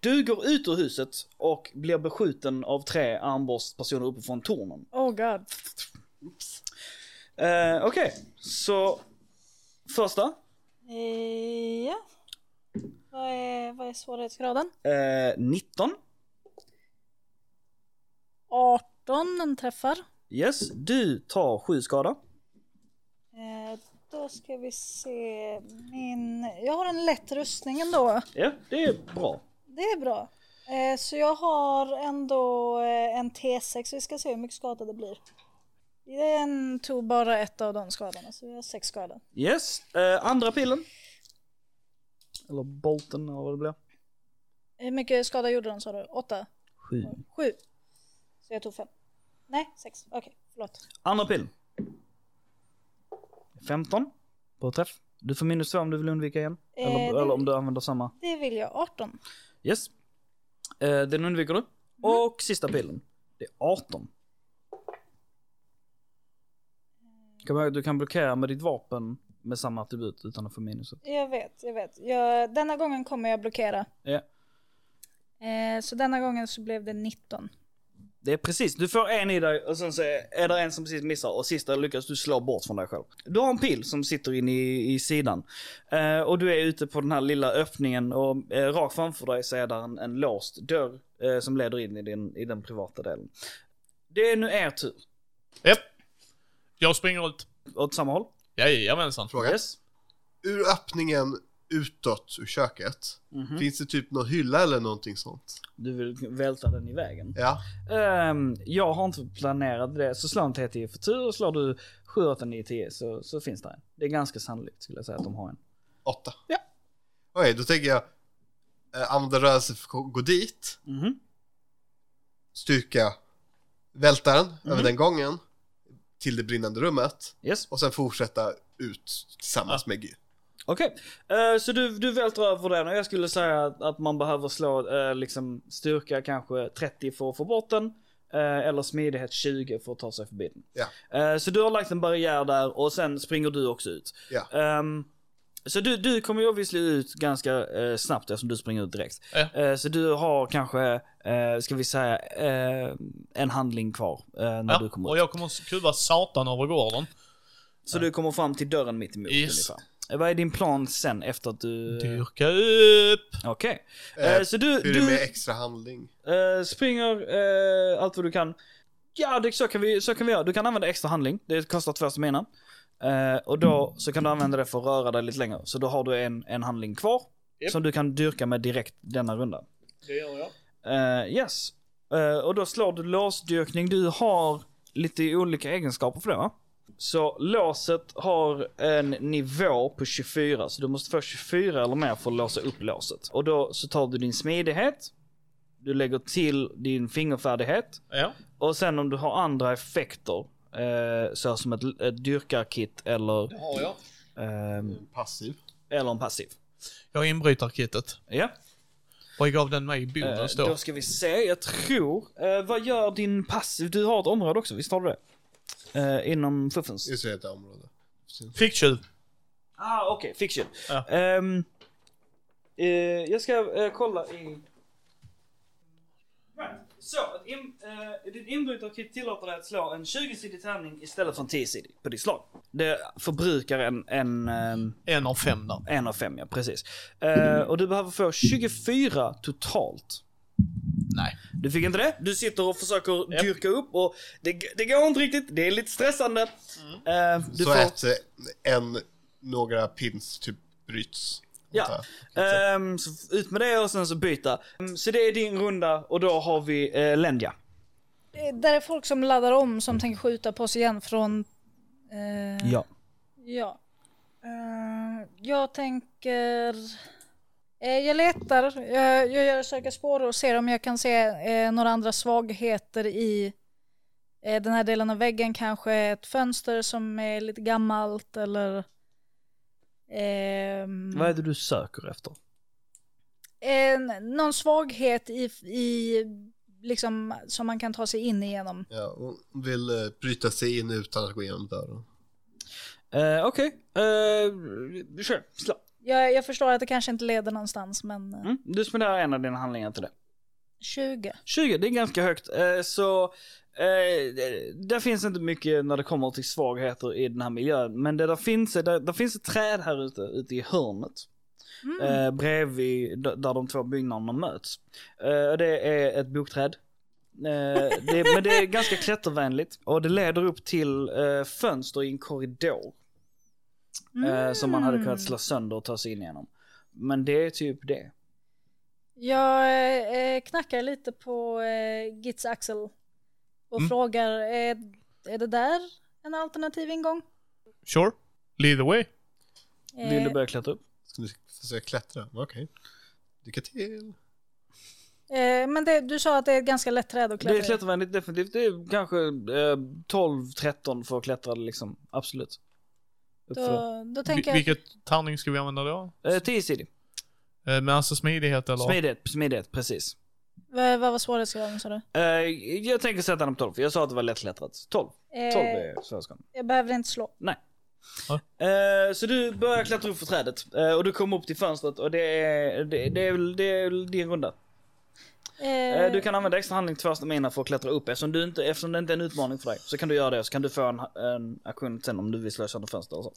Du går ut ur huset och blir beskjuten av tre armborstpersoner uppifrån tornen. Oh god. Eh, Okej, så första. Eh, ja. Vad är, vad är svårighetsgraden? Eh, 19. 18, den träffar. Yes, du tar 7 skada. Eh, då ska vi se min... Jag har en lätt rustning ändå. Ja, det är bra. Det är bra. Eh, så jag har ändå eh, en T6, vi ska se hur mycket skada det blir. Den tog bara ett av de skadorna, så vi har sex skador. Yes, eh, andra pilen. Eller bolten eller vad det blir. Hur mycket skada gjorde den sa du? Åtta? 7. Sju? Så jag tog fem. Nej, sex. Okej, förlåt. Andra pilen. 15 på träff. Du får minus 2 om du vill undvika igen. Eh, eller, det- eller om du använder samma. Det vill jag. 18. Yes. Eh, den undviker du. Och sista pilen. Det är 18. Kom ihåg, du kan blockera med ditt vapen med samma attribut utan att få minuset. Jag vet, jag vet. Jag, denna gången kommer jag blockera. Ja. Eh, så denna gången så blev det 19. Det är precis, du får en i dig och sen så är det en som precis missar och sista lyckas du slå bort från dig själv. Du har en pil som sitter in i, i sidan. Eh, och du är ute på den här lilla öppningen och eh, rakt framför dig så är där en, en låst dörr eh, som leder in i, din, i den privata delen. Det är nu er tur. Japp. Jag springer ut. Åt samma håll? Jajamensan. Fråga. Yes. Ur öppningen utåt ur köket, Mhm. finns det typ någon hylla eller någonting sånt? Du vill välta den i vägen. Ja. Ehm, jag har inte planerat det, så slå en T10 för tur och slår du 7, 8, 9, 10 så, så finns det en. Det är ganska sannolikt skulle jag säga att de har en. Åtta. Ja. Okej, då tänker jag eh, använda rörelse för att gå dit, Mhm. styrka vältaren Mhm. över den gången till det brinnande rummet Yes. och sen fortsätta ut tillsammans med Gy. Okej, Eh, så du, du vältrar över den och jag skulle säga att, att man behöver slå eh, liksom styrka kanske 30 för att få bort den. eh, eller smidighet 20 för att ta sig förbi den. Ja. Eh, så du har lagt en barriär där och sen springer du också ut. Ja. Ehm, så du, du kommer ju obviously ut ganska eh, snabbt eftersom du springer ut direkt. Ja. Eh, så du har kanske, eh, ska vi säga, eh, en handling kvar eh, när du Ja, kommer ut. och jag kommer att kuva satan över gården. Så du kommer fram till dörren mitt emot Yes. ungefär. Eh, Vad är din plan sen efter att du... Dyrka upp! Okej. Eh, Eh, så du, Hur är det med du extra handling? eh, springer eh, allt vad du kan. Ja, det, så, kan vi, så kan vi göra. Du kan använda extra handling. Det kostar två som ena. Eh, och då så kan du använda det för att röra dig lite längre. Så då har du en, en handling kvar. Japp. Som du kan dyrka med direkt denna runda. Det gör jag. Eh, yes. Eh, och då slår du låsdyrkning. Du har lite olika egenskaper för det va? Så låset har en nivå på 24, så du måste få 24 eller mer för att låsa upp låset. Och då så tar du din smidighet, du lägger till din fingerfärdighet Ja. och sen om du har andra effekter, eh, så som ett, ett dyrkarkit eller, Har jag. ehm, Passiv. eller en passiv. Jag har inbrytarkittet. Ja. Vad gav den mig i bonus Eh, då? Då ska vi se, jag tror. Eh, vad gör din passiv? Du har ett område också, visst har du det? Eh, inom fuffens? Just det, det område. Fick tjuv. Ah, okej, fiction. Ja. Ehm, eh, jag ska eh, kolla i... Right. Så, att in, eh, din inbrytarkit tillåter dig att slå en 20-sidig tärning istället för en 10-sidig på ditt slag. Det förbrukar en, en, ehm, En av fem där. en av fem, ja precis. Eh, och du behöver få 24 totalt. Nej. Du fick inte det? Du sitter och försöker dyrka upp och det, det går inte riktigt. Det är lite stressande. Eh, du så får, att eh, en, några pins typ bryts. ja. antar jag. Ehm, så ut med det och sen så byta. Mm, Så det är din runda och då har vi eh, Lendja. Eh, Där är folk som laddar om som tänker skjuta på oss igen från... Eh, Ja. ja. Eh, jag tänker... Eh, jag letar, jag, jag gör söka spår och ser om jag kan se eh, några andra svagheter i eh, den här delen av väggen. Kanske ett fönster som är lite gammalt eller... ehm, Mm. Vad är det du söker efter? en, någon svaghet i, i liksom, som man kan ta sig in igenom. Ja, hon vill eh, bryta sig in utan att gå igenom dörren. Eh, Okej. Okay. Eh, kör. Slå. Jag, jag förstår att det kanske inte leder någonstans, men eh, Mm. Du spenderar en av dina handlingar till det. 20. 20, det är ganska högt. Eh, så eh, det finns inte mycket när det kommer till svagheter i den här miljön. Men det där finns, det, där finns ett träd här ute, ute i hörnet. Mm. Eh, bredvid d- där de två byggnaderna möts. Eh, det är ett bokträd. Eh, det, men det är ganska klättervänligt och det leder upp till eh, fönster i en korridor. Eh, som man hade Mm. kunnat slå sönder och ta sig in genom. Men det är typ det. Jag eh, knackar lite på eh, Gits axel och Mm. frågar, är, är det där en alternativ ingång? Sure. Lead the way. Eh, Vill du börja klättra upp? Ska du försöka klättra? Okej. Lycka till. eh, men det, du sa att det är ett ganska lätt träd att Det är klättra i. klättervänligt definitivt. Det är kanske eh, 12-13 för att klättra liksom. Absolut. Uppför. Då, då Vi- tänker jag, Vilket tärning ska vi använda då? Eh, 10 sidig. Eh, Men alltså smidighet eller? Smidighet, smidighet, precis. vad, vad var svårighetsgraden sa du? Eh, jag tänker sätta den på 12 för jag sa att det var lättklättrat. 12. 12 Eh, är svenskan. jag behöver inte slå. Eh, så du börjar klättra upp för trädet eh, och du kommer upp till fönstret och det är, det, det är, väl, det är väl din runda. Eh, du kan använda extra handling till första mina för att klättra upp eftersom, du inte, eftersom det inte är en utmaning för dig. Så kan du göra det och så kan du få en, en aktion sen om du vill slå sönder fönster och så.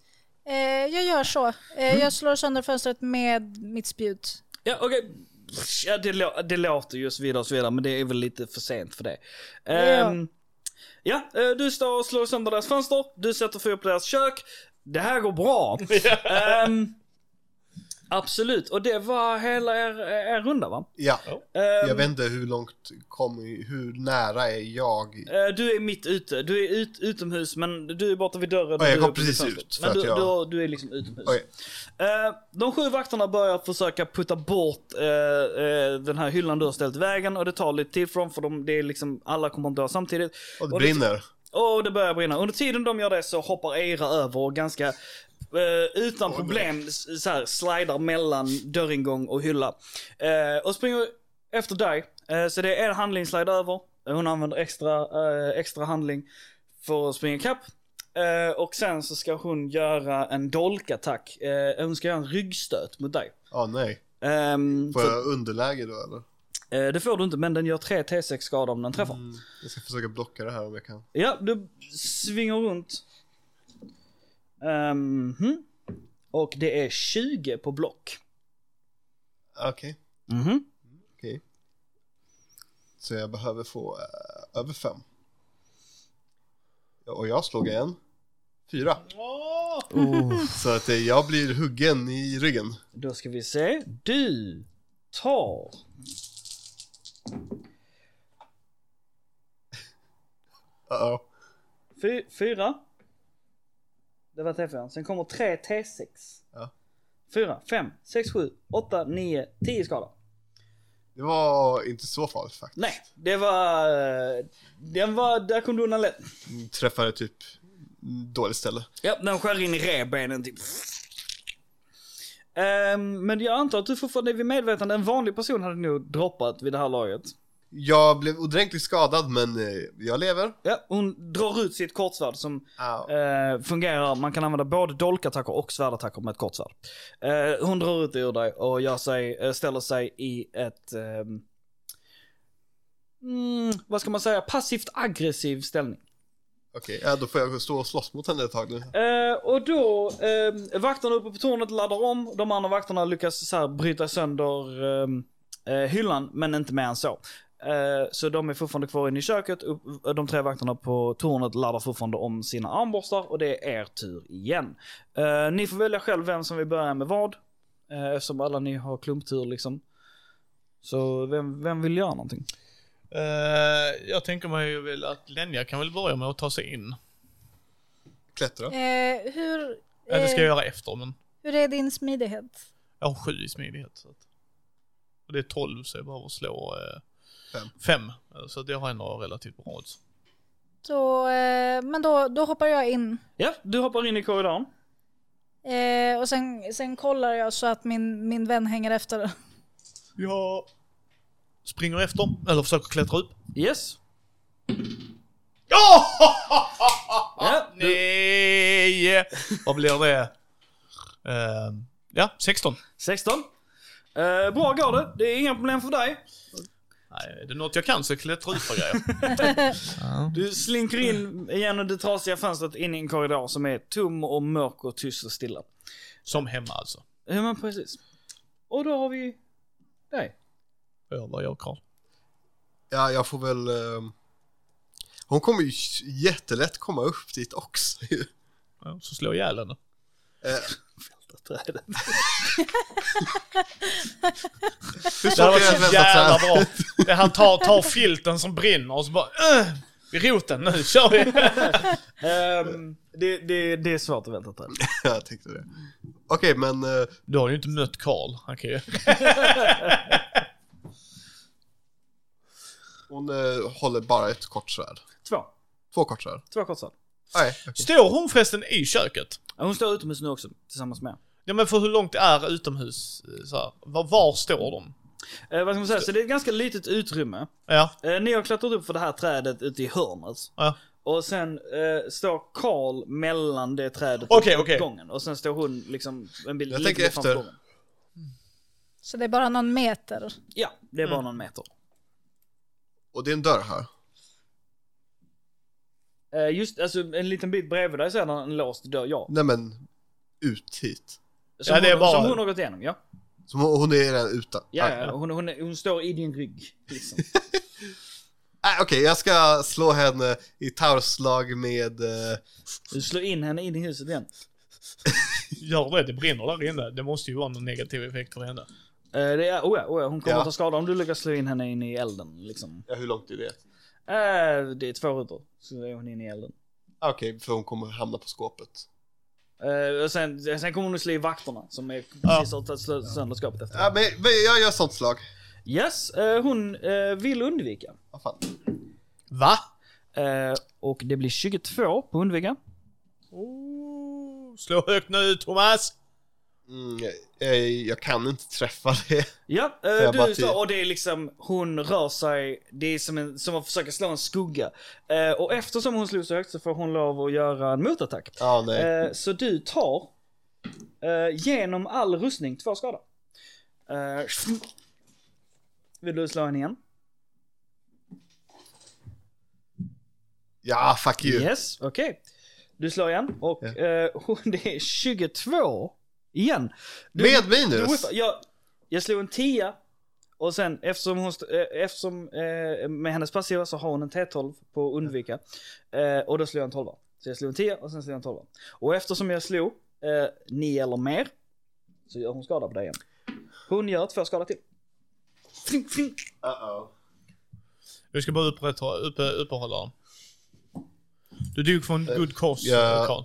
Eh, jag gör så. Eh, Mm. Jag slår sönder fönstret med mitt spjut. Ja okej. Ja, det, lå- det låter ju och så vidare och så vidare men det är väl lite för sent för det. Ehm, ja, eh, du står och slår sönder deras fönster, du sätter fyr på deras kök. Det här går bra. Ehm, absolut, och det var hela er, er runda va? Ja, Ehm, jag vet inte hur långt kom, hur nära är jag? eh, Du är mitt ute, du är ut, utomhus men du är borta vid dörren. Ja, jag du kom är uppe vid precis fönstret. ut för Men att du, jag- du, har- du är liksom utomhus. Oj, Eh, de sju vakterna börjar försöka putta bort eh, eh, den här hyllan du har ställt i vägen och det tar lite tid för dem för de, det är liksom, alla kommer att dö samtidigt. och liksom- det Och det- brinner. Och det börjar brinna. Under tiden de gör det så hoppar Eira över och ganska eh, utan problem s- så här, slidar mellan dörringång och hylla. Eh, och springer efter dig. Eh, så det är en handling slide över. Hon använder extra, eh, extra handling för att springa ikapp. Eh, och sen så ska hon göra en dolkattack. Eh, hon ska göra en ryggstöt mot dig. Ja, nej. Ehm, Får så, jag underläge då eller? eh, det får du inte men den gör 3 T6 skada om den träffar. Mm, jag ska försöka blocka det här om jag kan. Ja, du svingar runt. Ehm, mhm. Och det är 20 på block. Okej, Mhm. okej. Så jag behöver få eh, över fem. Ja, Och jag slog en fyra. Så att eh, jag blir huggen i ryggen. Då ska vi se. Du tar... Uh-oh. Fy, fyra. Det var T4. Sen kommer 3 T6. Ja. 4, 5, 6, 7, 8, 9, 10 skada. Det var inte så farligt faktiskt. Nej, det var... eh, Den var... Där kom du undan lätt. Träffade typ dåligt ställe. Ja, den skär in i revbenen typ. Ehm, men jag antar att du fortfarande är vid medvetande. En vanlig person hade nog droppat vid det här laget. Jag blev ordentligt skadad men eh, jag lever. Ja, hon drar ut sitt kortsvärd som Au. eh, fungerar. Man kan använda både dolkattacker och svärdattacker med ett kortsvärd. Eh, hon drar ut det ur dig och gör sig, eh, ställer sig i ett... ehm, mm, vad ska man säga? Passivt aggressiv ställning. Okej, ja, då får jag stå och slåss mot henne ett tag nu. Eh, och då, eh, vakterna uppe på tornet laddar om. De andra vakterna lyckas så här bryta sönder ehm, eh, hyllan, men inte mer än så. Eh, så de är fortfarande kvar inne i köket. Upp, eh, de tre vakterna på tornet laddar fortfarande om sina armborstar och det är er tur igen. Eh, ni får välja själv vem som vill börja med vad. Eh, eftersom alla ni har klumptur liksom. Så vem, vem vill göra någonting? Eh, jag tänker mig väl att Lenja kan väl börja med att ta sig in. Klättra. Eh, hur, Eller ska eh, jag göra efter, men hur är din smidighet? jag har sju i smidighet. Så att. Och det är tolv, så jag behöver slå eh, Fem. fem. Eh, Så att jag har ändå relativt bra odds. Då, eh, men då, då hoppar jag in. Ja, du hoppar in i korridoren. Eh, och sen, sen kollar jag så att min, min vän hänger efter. Jag springer efter, eller försöker klättra upp. Yes. Ja! Ja, du- Nej! Vad blir det? Eh, Ja, 16. 16. Eh, bra går det. Det är inga problem för dig. Nej, är det något jag kan så klättra ut på grejer. Du slinker in genom det trasiga fönstret in i en korridor som är tom och mörk och tyst och stilla. Som hemma alltså. Ja men precis. Och då har vi dig. Hör vad jag har. Ja, jag får väl... ehm, Hon kommer ju jättelätt komma upp dit också ju. Ja, så slår jag ihjäl henne. Eh, Trädet. hur Det hade stort är varit ett så jävla bra. Det Han tar, tar filten som brinner och så bara "Äh, vid roten, nu kör vi! Ehm, det, det, det är svårt att vänta träd. Jag tänkte det. Okej, men... eh, Du har ju inte mött Karl, han kan ju... Hon eh, håller bara ett kort svärd. Två. Två kort svärd. Två kortsvärd. Nej. okej. Står hon förresten i köket? Ja, Hon står utomhus nu också tillsammans med. Ja men för hur långt är utomhus? eh, Så här, var, var står de? Eh, vad ska man säga? Så det är ett ganska litet utrymme. Ja, Eh, ni har klättrat upp för det här trädet ute i hörnet. ja. Och sen eh, står Karl mellan det trädet Okej, okej. gången. Och sen står hon liksom en bild Jag lite tänker framför efter. gången. Så det är bara någon meter. Ja, Mm. det är bara någon meter. Och det är en dörr här. Eh, just, alltså en liten bit bredvid dig sedan en låst dörr, ja. Nej men, ut hit. Som, Ja, det är hon, bara- som hon har gått igenom, ja. Så hon, hon är redan ute. Ja, Nej, ja, Hon, hon, hon står i din rygg. Liksom. Ah, Nej, okej, jag ska slå henne i tarvslag med... eh, Du slår in henne in i huset igen. Gör det, det brinner där inne. Det måste ju vara någon negativ effekt för henne. Eh, det är, oh ja, oh ja, hon kommer Ja. att ta skada om du lyckas slå in henne in i elden. Liksom. Ja, hur långt är det? Eh, det är två rutor, så är hon inne i elden. Ah, Okej, för hon kommer hamna på skåpet. Eh, och sen, sen kommer hon att slå i vakterna som är precis Ja. har tagit slö- sönder skåpet efter. Ja, men, men jag gör sånt slag. Yes, eh, hon eh, vill undvika. Vad fan. Va? Eh, och det blir 22 på undvika. Oh, slå högt nu Thomas! Mm, jag, jag kan inte träffa det. Ja, jag eh, bara typ- du tio? står och det är liksom, hon rör sig, det är som, en, som att försöka slå en skugga. Eh, och eftersom hon slog så högt så får hon lov att göra en motattack. Ja, nej. Eh, så du tar eh, genom all rustning två skada. Eh, vill du slå henne igen? Ja, fuck you. Yes, okej. Du slår igen och Ja. eh, hon- det är 22 igen. Du- Med Du minus? whiffar. Jag, jag slog en 10 och sen eftersom hon, st- eh, eftersom eh, med hennes passiva så har hon en T12 på undvika. Eh, och då slog jag en 12 Så jag slog en 10 och sen slog jag en 12 Och eftersom jag slog eh, 9 eller mer så gör hon skada på dig igen. Hon gör två skada till. Fling, fling. Uh-oh. Du ska bara upprätta, upp, uppehålla dem. Du dog för en good cause, ja. Karl.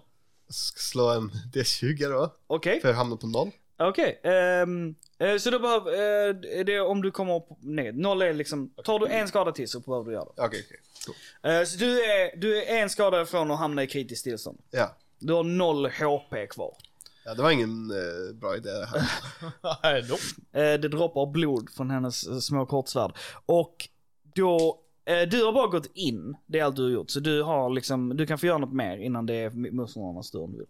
Ska slå en D20 då, Okej, för jag hamnar på noll. okej. ehm, eh, så då behöver, eh, det är om du kommer upp, nej, noll är liksom, tar du en skada till så behöver du göra det. Okej, okej. Cool. Eh, så du är, du är en skada från att hamna i kritiskt tillstånd. Ja. Du har noll HP kvar. ja, det var ingen eh, bra idé det här. Nej, då. Eh, det droppar blod från hennes eh, små kortsvärd. Och då, eh, du har bara gått in, det är allt du har gjort. Så du har liksom, du kan få göra något mer innan det är motståndarnas tur om du vill.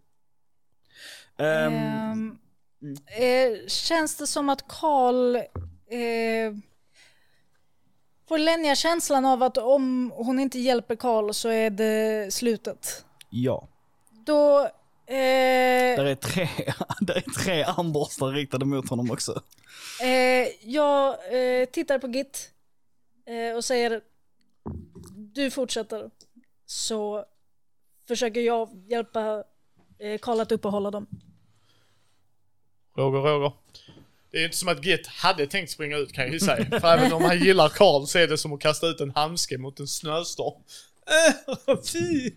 Ehm, Ehm, Mm. eh, känns det som att Karl eh, får Lenja känslan av att om hon inte hjälper Karl så är det slutet? Ja. Då... Där Eh, är tre, där är tre armborstar riktade mot honom också. eh, jag eh, tittar på Git eh, och säger du fortsätter så försöker jag hjälpa eh, Karl att uppehålla dem. Roger, Roger. Det är inte som att Git hade tänkt springa ut kan jag ju säga. För även om han gillar Karl så är det som att kasta ut en handske mot en snöstorm. Äh, fy!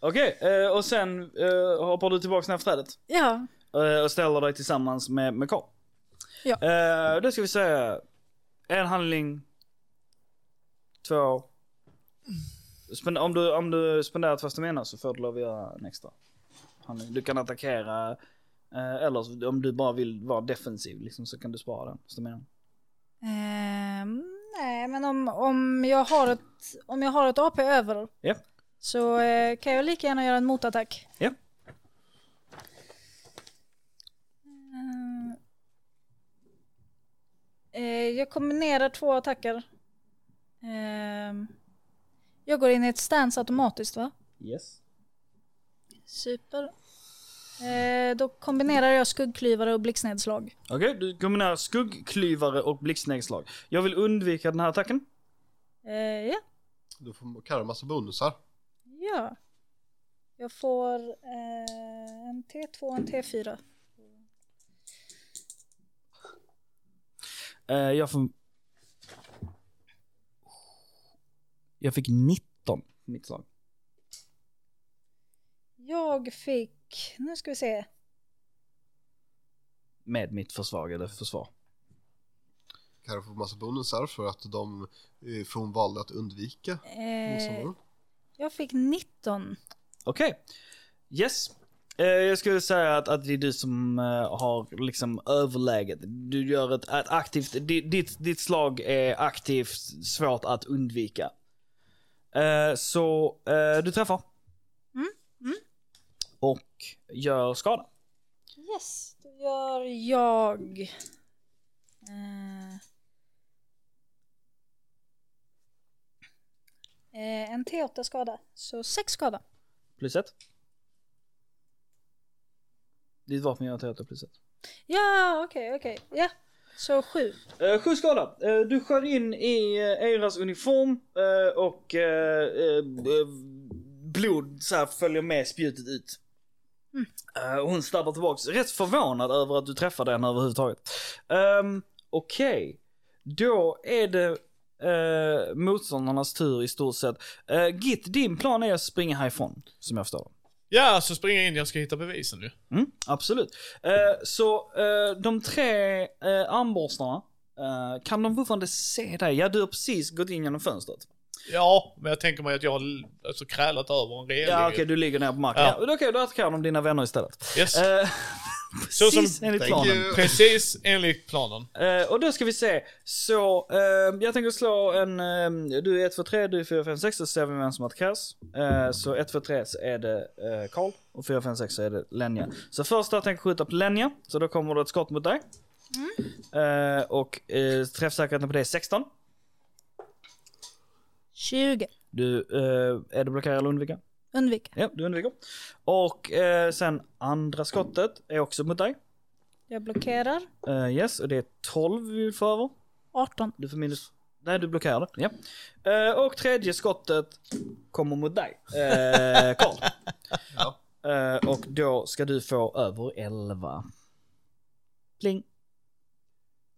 Okej, eh, och sen eh, hoppar du tillbaka ner för trädet. Ja, Eh, och ställer dig tillsammans med, med Karl. Ja. Eh, då ska vi säga en handling, två. Spen- om, du, om du spenderar två stamina så får du lov att göra en extra handling. Du kan attackera, eh, eller så- om du bara vill vara defensiv liksom, så kan du spara den staminan. Ehm, nej, men om, om, jag har ett, om jag har ett AP över Ja. så eh, kan jag lika gärna göra en motattack. Ja. Ehm, eh, jag kombinerar två attacker. Ehm, jag går in i ett stance automatiskt va? Yes. Super. Eh, då kombinerar jag skuggklyvare och blixtnedslag. Okej, du kombinerar skuggklyvare och blixtnedslag. Jag vill undvika den här attacken. Eh, ja. Då får Karra massa bonusar. ja. Jag får eh, en T2 och en T4. Eh, jag får... Jag fick 19 på mitt slag. Jag fick, nu ska vi se, Med mitt försvagade försvar. Karra får massa bonusar för att de eh, för hon valde att undvika. eh, bonusområden. jag fick 19. Okej. Yes. Eh, jag skulle säga att, att det är du som eh, har liksom överläget. Du gör ett, ett aktivt... di- Ditt, ditt slag är aktivt svårt att undvika. Eh, så eh, du träffar. Mm, mm. Och gör skada. Yes, då gör jag... Eh, eh, en T8 skada, så 6 skada. Plus ett. Ditt vapen gör ett plus ett. Ja, okej, okej. Ja, så 7. Eh, sju skada. Eh, du skär in i eh, Eiras uniform eh, och eh, eh, eh, blod så här, följer med spjutet ut. Eh, och hon stabbar tillbaks. Rätt förvånad över att du träffade henne överhuvudtaget. Um, Okej. Då är det eh, motståndarnas tur i stort sett. Eh, Git, din plan är att springa härifrån, som jag förstår det. Ja, så springer jag in, jag ska hitta bevisen nu. Mm, absolut. Eh, så eh, de tre eh, armborstarna, eh, kan de fortfarande se dig? Ja, du har precis gått in genom fönstret. Ja, men jag tänker mig att jag har l- alltså, krälat över en reling. Ja, okej, du ligger ner på marken. Ja. Ja. Okej, då attackerar de dina vänner istället. Yes. Eh, Så som- precis enligt Thank planen. you. Precis enligt planen. Eh, och då ska vi se. Så eh, jag tänker slå en... Eh, du är 1, 2, 3, du är 4, 5, 6. Så ser vi vem som attackeras. Eh, så 1, 2, 3 så är det eh, Karl. och 4, 5, 6 så är det Lenja. Så först jag tänker skjuta på Lenja. Så då kommer det ett skott mot dig. Eh, och eh, träffsäkerheten på det är 16. 20. Du, eh, är du blockerad eller undvika? Undvik. Ja, du undviker. Och eh, sen andra skottet är också mot dig. Jag blockerar. Eh, yes, och det är 12 vi vill få över. 18. Du får minus... Nej, du blockerade. Ja. Eh, och tredje skottet kommer mot dig, eh, Karl. Ja. Eh, och då ska du få över 11. Pling.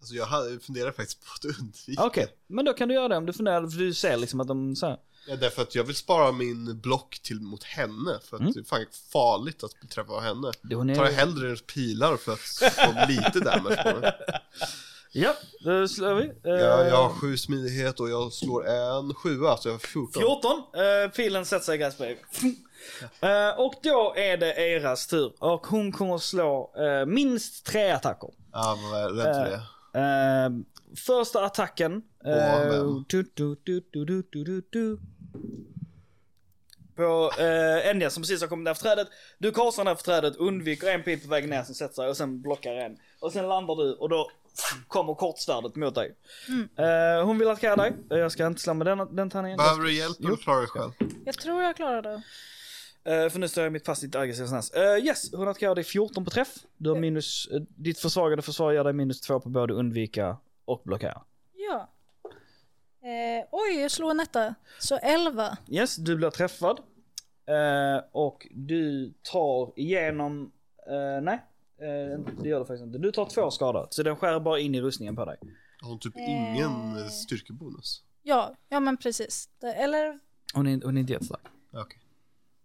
Alltså jag hade- funderade faktiskt på att undvika. Okej, men då kan du göra det om du funderar, för du ser liksom att de så här. Ja, därför att jag vill spara min block till mot henne för att Mm. det är fan farligt att träffa henne. Det hon Tar jag är... hellre pilar för att få lite damage på den. Ja, då slår vi. Eh, Jag, jag har sju smidighet och jag slår en sjua så jag har 14. 14. Eh, pilen sätter sig i gräsbrevet. Eh, och då är det Eras tur. Och hon kommer slå eh, minst tre attacker. Ja, men jag är rädd för det. Eh, första attacken. eh, Åh, vem? du, du, du, du, du, du, du, du. På eh, Enya som precis har kommit ner för trädet. Du korsar ner för trädet, undviker en pil på vägen ner som sätter sig och sen blockar en. Och sen landar du och då kommer kortsvärdet mot dig. Eh, hon vill attackera dig. Jag ska inte slå med den, den tärningen. Behöver du hjälp eller klarar du dig själv? Jag tror jag klarar det. Eh, för nu står jag i mitt fast i ditt aggressiva snäs. Eh, yes, 100 k det är 14 på träff. Du har minus, eh, ditt försvagade försvar gör dig minus 2 på både undvika och blockera. Ja. Eh, oj, jag slår en etta. Så 11. Yes, du blir träffad. Eh, och du tar igenom... Eh, nej, eh, det gör du faktiskt inte. Du tar två skador, så den skär bara in i rustningen på dig. Har hon typ Eh. ingen eh, styrkebonus? Ja, ja men precis. Det- Eller Hon är, hon är inte jättestark. Okej.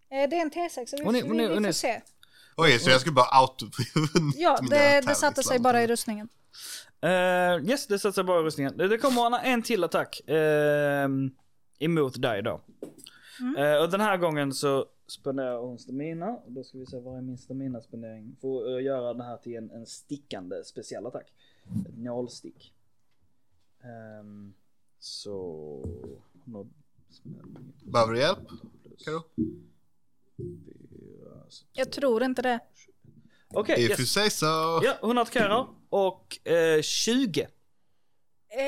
eh, det är en T6, så vi, Hon är- hon är- vi, vi hon är- får se. Okej, så jag ska bara auto... Ja, mina det, det satte sig tävlingslamp. bara i rustningen. Eh, yes, det sätter sig bara i rustningen. Det det kommer en till attack ehm, emot dig då. Eh, och den här gången så spenderar hon stamina. Och Då ska vi se, vad är min staminaspendering? För att eh, göra den här till en, en stickande speciell attack. Ett nålstick. Ehm, så... nå- Behöver du hjälp? Karo? Jag tror inte det. Okej, If you yes. say so. Ja, hon attackerar. Och eh, 20. Eh,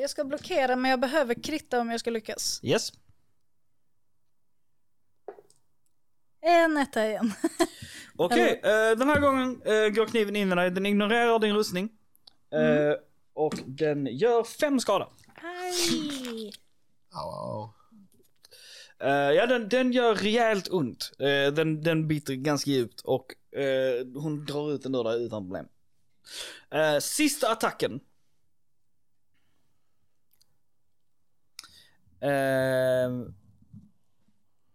jag ska blockera men jag behöver kritta om jag ska lyckas. Yes. En etta igen. Okej, eh, den här gången eh, går kniven in i dig. Den ignorerar din rustning. Eh, och den gör fem skada. Aj. Au, au. Eh, ja, den, den gör rejält ont. Eh, den, den biter ganska djupt och eh, hon drar ut den ur dig utan problem. Eh, sista attacken. Eh,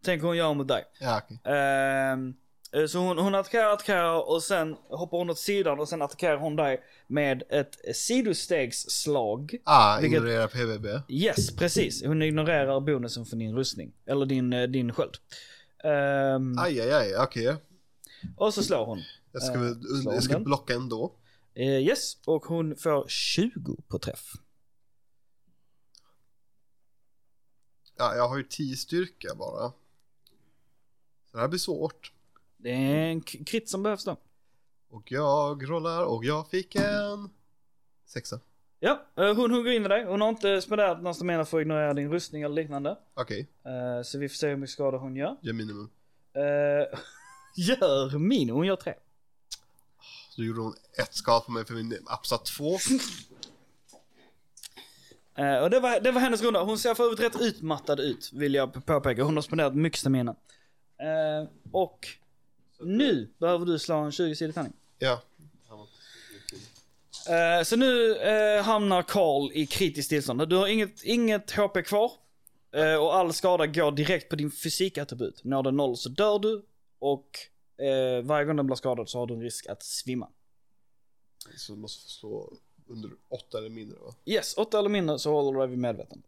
tänk hon gör mot dig. Ja, okej. Ehm, eh, så hon, hon attackerar, attackerar och sen hoppar hon åt sidan och sen attackerar hon dig med ett sidostegsslag. Ah, Vilket- ignorera PVB. Yes, precis. Hon ignorerar bonusen från din rustning. Eller din, eh, din sköld. Ehm, Aj, aj, aj. Okej. och så slår hon. Jag ska, Eh, väl- slå jag ska den. blocka ändå. Eh, yes, och hon får 20 på träff. Ja, jag har ju 10 styrka bara. Så det här blir svårt. Det är en k- krit som behövs då. Och jag rollar och jag fick en sexa. Ja, eh, hon hugger in i dig. Hon har inte spenderat några stamina för att ignorera din rustning eller liknande. Okej, Eh, så vi får se hur mycket skada hon gör. det är minimum. Eh, gör min, hon gör tre. Så gjorde hon ett skada på mig för min absat två. Eh, och det var, det var hennes runda. Hon ser för övrigt rätt utmattad ut, vill jag påpeka. Hon har spenderat mycket stamina. Eh, och nu behöver du slå en 20-sidig tärning. Ja, Eh, så nu eh, hamnar Karl i kritiskt tillstånd. Du har inget, inget HP kvar. Eh, och all skada går direkt på din fysikattribut. Når den noll så dör du. Och eh, varje gång den blir skadad så har du en risk att svimma. så du måste få slå under åtta eller mindre va? Yes, åtta eller mindre så håller du dig vid medvetande.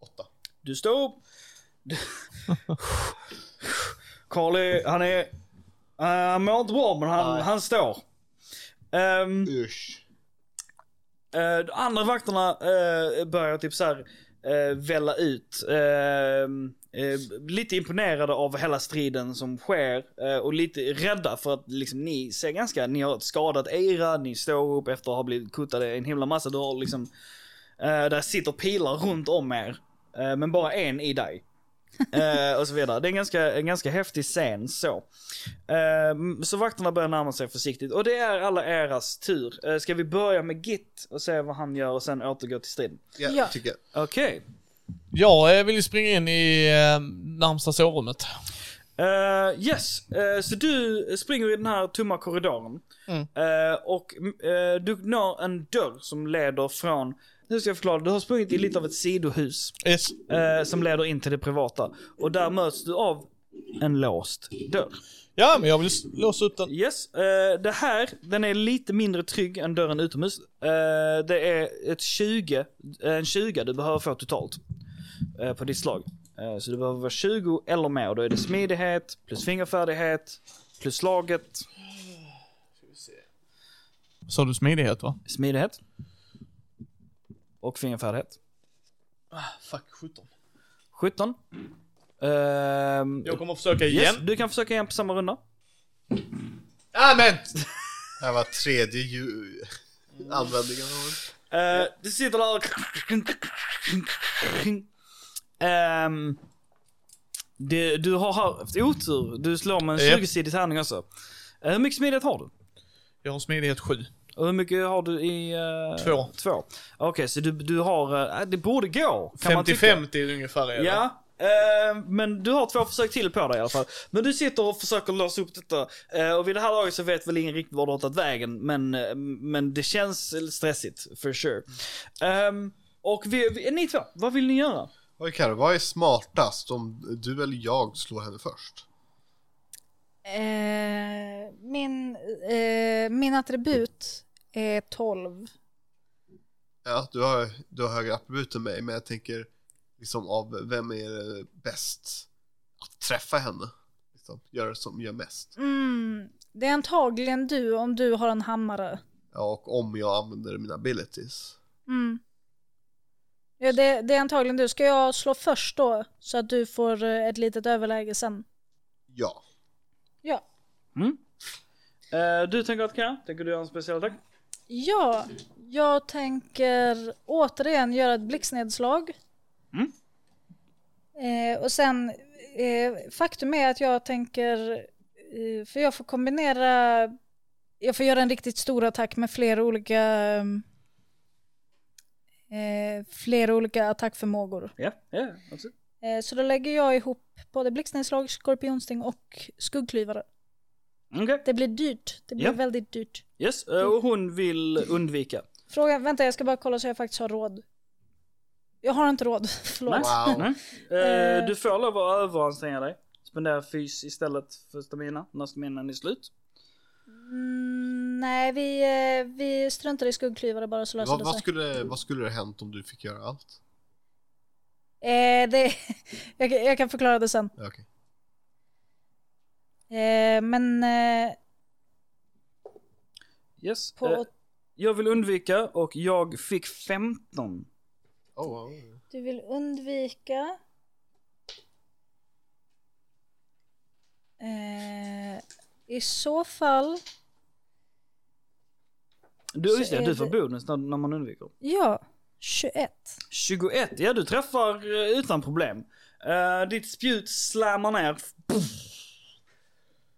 Åtta. Du står upp. Karl är, han är, eh, han mår inte bra men han, Nej. han står. Ehm, Usch. eh, de andra vakterna eh, börjar typ så här eh, välla ut. Ehm, eh, lite imponerade av hela striden som sker eh, och lite rädda för att liksom, ni ser ganska, ni har skadat era, ni står upp efter att ha blivit kuttade en himla massa. Du har liksom, eh, där sitter pilar runt om er, eh, men bara en i dig. Eh, och så vidare. Det är en ganska, en ganska häftig scen så. Eh, så vakterna börjar närma sig försiktigt och det är alla eras tur. Eh, ska vi börja med Git och se vad han gör och sen återgå till striden? Ja, Ja. tycker jag. Okej. Jag eh, vill ju springa in i eh, närmsta sovrummet. Eh, yes, Eh, så du springer i den här tomma korridoren. Mm. Eh, och eh, du når en dörr som leder från, hur ska jag förklara, du har sprungit i lite av ett sidohus. Yes. eh, som leder in till det privata. Och där möts du av en låst dörr. Ja, men jag vill s- låsa upp den. Yes, eh, det här, den är lite mindre trygg än dörren utomhus. Eh, det är ett 20, en 20 du behöver få totalt eh, på ditt slag. Eh, så du behöver vara 20 eller mer och då är det smidighet, plus fingerfärdighet, plus slaget. Sa du smidighet va? Smidighet. Och fingerfärdighet. Fuck, 17. 17. Ehm, Jag kommer försöka yes, igen. du kan försöka igen på samma runda. Ah, men! Det här var tredje ju... användningen av den. Eh, det sitter där och... Ehm, det, du har haft otur. Du slår med Ja. en 20-sidig tärning också. Eh, hur mycket smidighet har du? Jag har smidighet 7. Och hur mycket har du i... eh, Två. Två. Okej, så du, du har... eh, det borde gå. Kan man tycka. 50-50 ungefär är det. Ja, eh, men du har två försök till på dig i alla fall. Men du sitter och försöker lösa upp detta. Eh, och vid det här laget så vet väl ingen riktigt var du har tagit vägen. Men, eh, men det känns stressigt, for sure. Ehm, och vi, vi, ni två, vad vill ni göra? Oj Karo, vad är smartast om du eller jag slår henne först? Eh, min, eh, min attribut är 12. Ja, du har, du har högre attribut än mig, men jag tänker liksom av vem är eh, bäst att träffa henne? Liksom, gör det som gör mest. Mm, det är antagligen du om du har en hammare. Ja, och om jag använder mina abilities. Mm. Ja, det, det är antagligen du. Ska jag slå först då? Så att du får eh, ett litet överläge sen. Ja. Ja. Eh, du tänker att kan, tänker du göra en speciell attack? Ja, jag tänker återigen göra ett blixtnedslag. Mm. Eh, och sen, eh, faktum är att jag tänker, eh, för jag får kombinera, jag får göra en riktigt stor attack med flera olika, eh, flera olika attackförmågor. Ja, ja, absolut. Eh, så då lägger jag ihop både blixtnedslag, skorpionsting och skuggklyvare. Okej, Det blir dyrt, det blir Ja. väldigt dyrt. yes. eh, Och hon vill undvika. Frågan, vänta jag ska bara kolla så jag faktiskt har råd. Jag har inte råd, förlåt. Nej. Wow. Nej. Eh, Eh. Du får lov att överanstränga dig. Spendera fys istället för stamina när staminan är slut. Mm, nej, vi, eh, vi struntar i skuggklyvare bara så löser Vad, det vad, sig. skulle, vad skulle det hänt om du fick göra allt? Eh, det, jag, kan- jag kan förklara det sen. Ja, Okej. Eh, men eh, Yes. på... Eh, jag vill undvika och jag fick 15. Oh, wow. Du vill undvika... Eh, I så fall... Du, Så just det, är du får det- bonus när, när man undviker. Ja, 21. 21, ja du träffar eh, utan problem. Eh, ditt spjut slammar ner.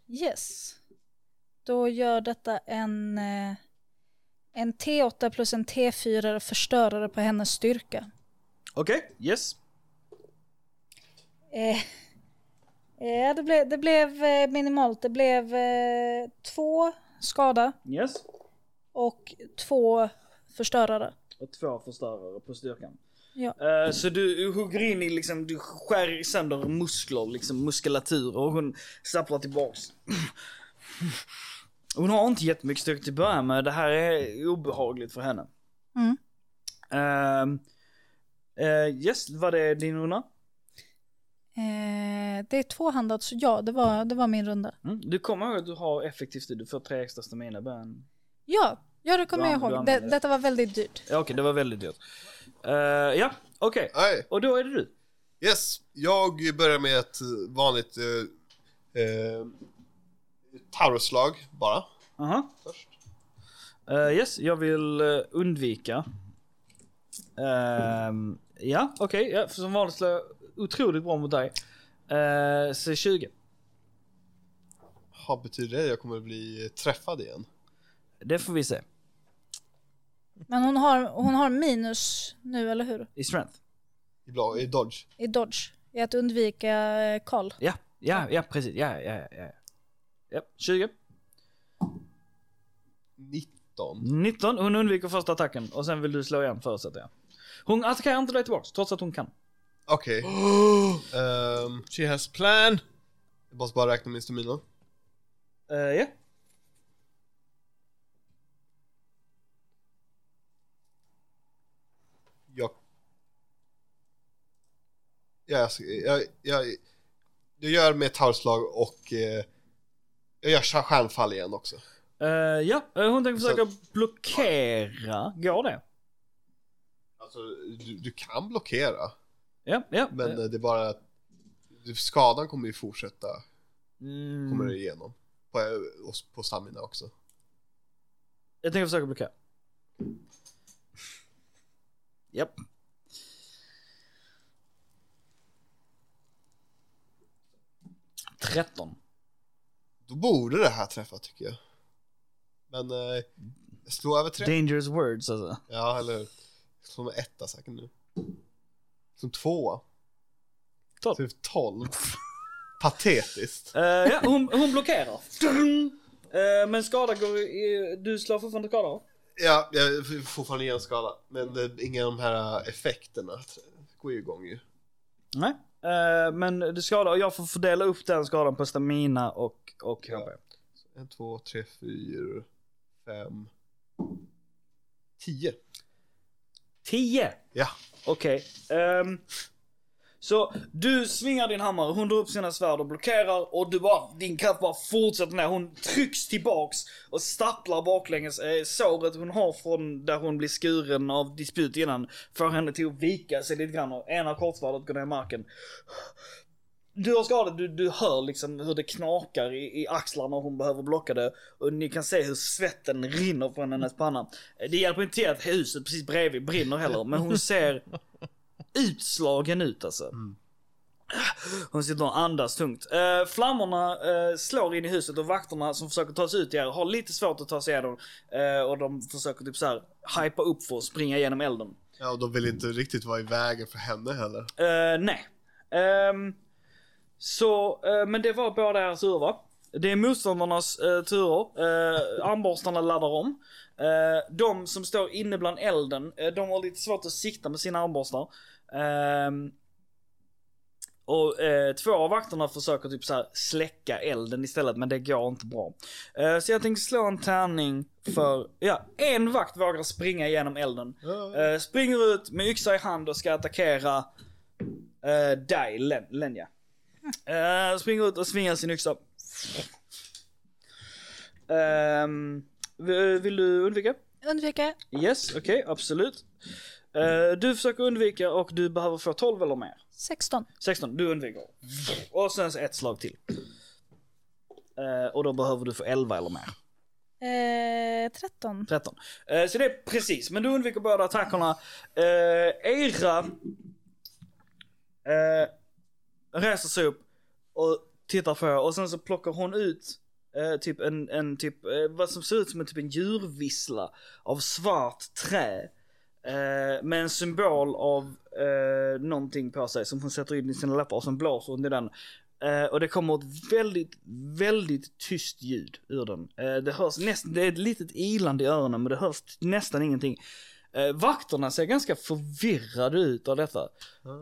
Yes. Då gör detta en, eh, en T8 plus en T4 förstörare på hennes styrka. Okej, yes. Eh, eh, det, blev, det blev eh, minimalt. Det blev eh, två skada Yes. och två förstörare. Och två förstörare på styrkan. Ja. Eh, så du hugger in i liksom, du skär sönder muskler, liksom muskulatur och hon stapplar tillbaks. Hon har inte jättemycket styrka till att börja med, det här är obehagligt för henne. Mm. Ehm, eh, yes, vad är din runda? Eh, det är tvåhandat, så ja, det var, det var min runda. Mm. Du kommer ihåg att du har effektivt, du får tre extra stamina i början. Ja, ja det kommer Du jag an- du ihåg. Det, använder det. detta var väldigt dyrt. Ja, Okej, det var väldigt dyrt. Eh, ja, okej. Nej, Och då är det du. Yes, jag börjar med ett eh, vanligt eh, eh, tarmslag bara. Aha. Först. Eh, yes, jag vill eh, undvika. Ehm, ja, okej. ja, för som vanligt slår jag otroligt bra mot dig. Eh, så 20. Ha, betyder det att jag kommer bli träffad igen? Det får vi se. Men hon har, hon har minus nu, eller hur? I strength. I, bla, i Dodge? I Dodge. I att undvika eh, Karl. Ja, ja, ja precis. Ja, ja, ja. ja. Ja, 20. 19. 19. Hon undviker första attacken och sen vill du slå igen förutsätter jag. Hon attackerar inte dig tillbaks trots att hon kan. Okej. Ehm, She has a plan. jag måste bara räkna min stamina. Eh, ja. Jag... Ja, jag, ska- jag, jag, jag gör med tarmslag och eh, jag gör stjärnfall igen också. Eh, ja, eh, hon tänker Så- försöka blockera. Går det? Alltså, du, du kan blockera, Ja, ja. men eh, eh, det är bara att skadan kommer ju fortsätta mm. kommer det igenom. På, och på stamina också. Jag tänker försöka blockera. Japp. Tretton. Då borde det här träffa tycker jag. Men eh, slå över tre. Dangerous words alltså. Ja, eller hur? Slå med etta säkert nu. Som tvåa. Tolv. Typ tolv. Patetiskt. Eh, ja, hon, hon blockerar. Eh, men skada går i, Du slår fortfarande skada av? Ja, jag är fortfarande i en skala. Men det, inga av de här äh, effekterna går ju igång ju. Nej. Eh, men du skadar, och jag får fördela upp den skadan på stamina och, och Ja. HP. En, två, tre, fyra, fem, tio. Tio! Ja. Okej. ehm, så du svingar din hammare, hon drar upp sina svärd och blockerar och du bara, din kraft bara fortsätter ner. Hon trycks tillbaks och stapplar baklänges. Eh, såret hon har från där hon blir skuren av disput innan får henne till att vika sig lite grann och ena kortsvärdet går ner i marken. Du har skadat, du, du hör liksom hur det knakar i, i axlarna och hon behöver blocka det. Och ni kan se hur svetten rinner från hennes panna. Eh, Det hjälper inte till att huset precis bredvid brinner heller, men hon ser utslagen ut alltså. Hon sitter och andas tungt. Eh, flammorna eh, slår in i huset och vakterna som försöker ta sig ut i er har lite svårt att ta sig igenom. Eh, och de försöker typ så här hypa upp för att springa igenom elden. Ja, och de vill inte riktigt vara i vägen för henne heller. Eh, nej. Ehm, så, eh, men det var båda era turer va? Det är motståndarnas eh, turer. Eh, armborstarna laddar om. Eh, de som står inne bland elden, eh, de har lite svårt att sikta med sina armborstar. Ehm, och eh, två av vakterna försöker typ så här släcka elden istället, men det går inte bra. Eh, så jag tänkte slå en tärning för, ja, en vakt vågar springa igenom elden. Eh, springer ut med yxa i hand och ska attackera eh, dig, Len- Lenja. Eh, springer ut och svingar sin yxa. Ehm, vi- vill du undvika? Undvika. Yes, okej, absolut. Eh, du försöker undvika och du behöver få 12 eller mer. 16. 16, du undviker. Och sen så ett slag till. Eh, och då behöver du få 11 eller mer. Eh, 13. 13. Eh, så det är precis, men du undviker båda attackerna. Eh, Eira eh, reser sig upp och tittar på er och sen så plockar hon ut eh, typ en, en typ, eh, vad som ser ut som en typ en djurvissla av svart trä. Eh, med en symbol av eh, någonting på sig som hon sätter in i sina läppar och sen blåser hon i den. Eh, och det kommer ett väldigt, väldigt tyst ljud ur den. Eh, det hörs nästan, det är ett litet ilande i öronen men det hörs nästan ingenting. Eh, vakterna ser ganska förvirrade ut av detta.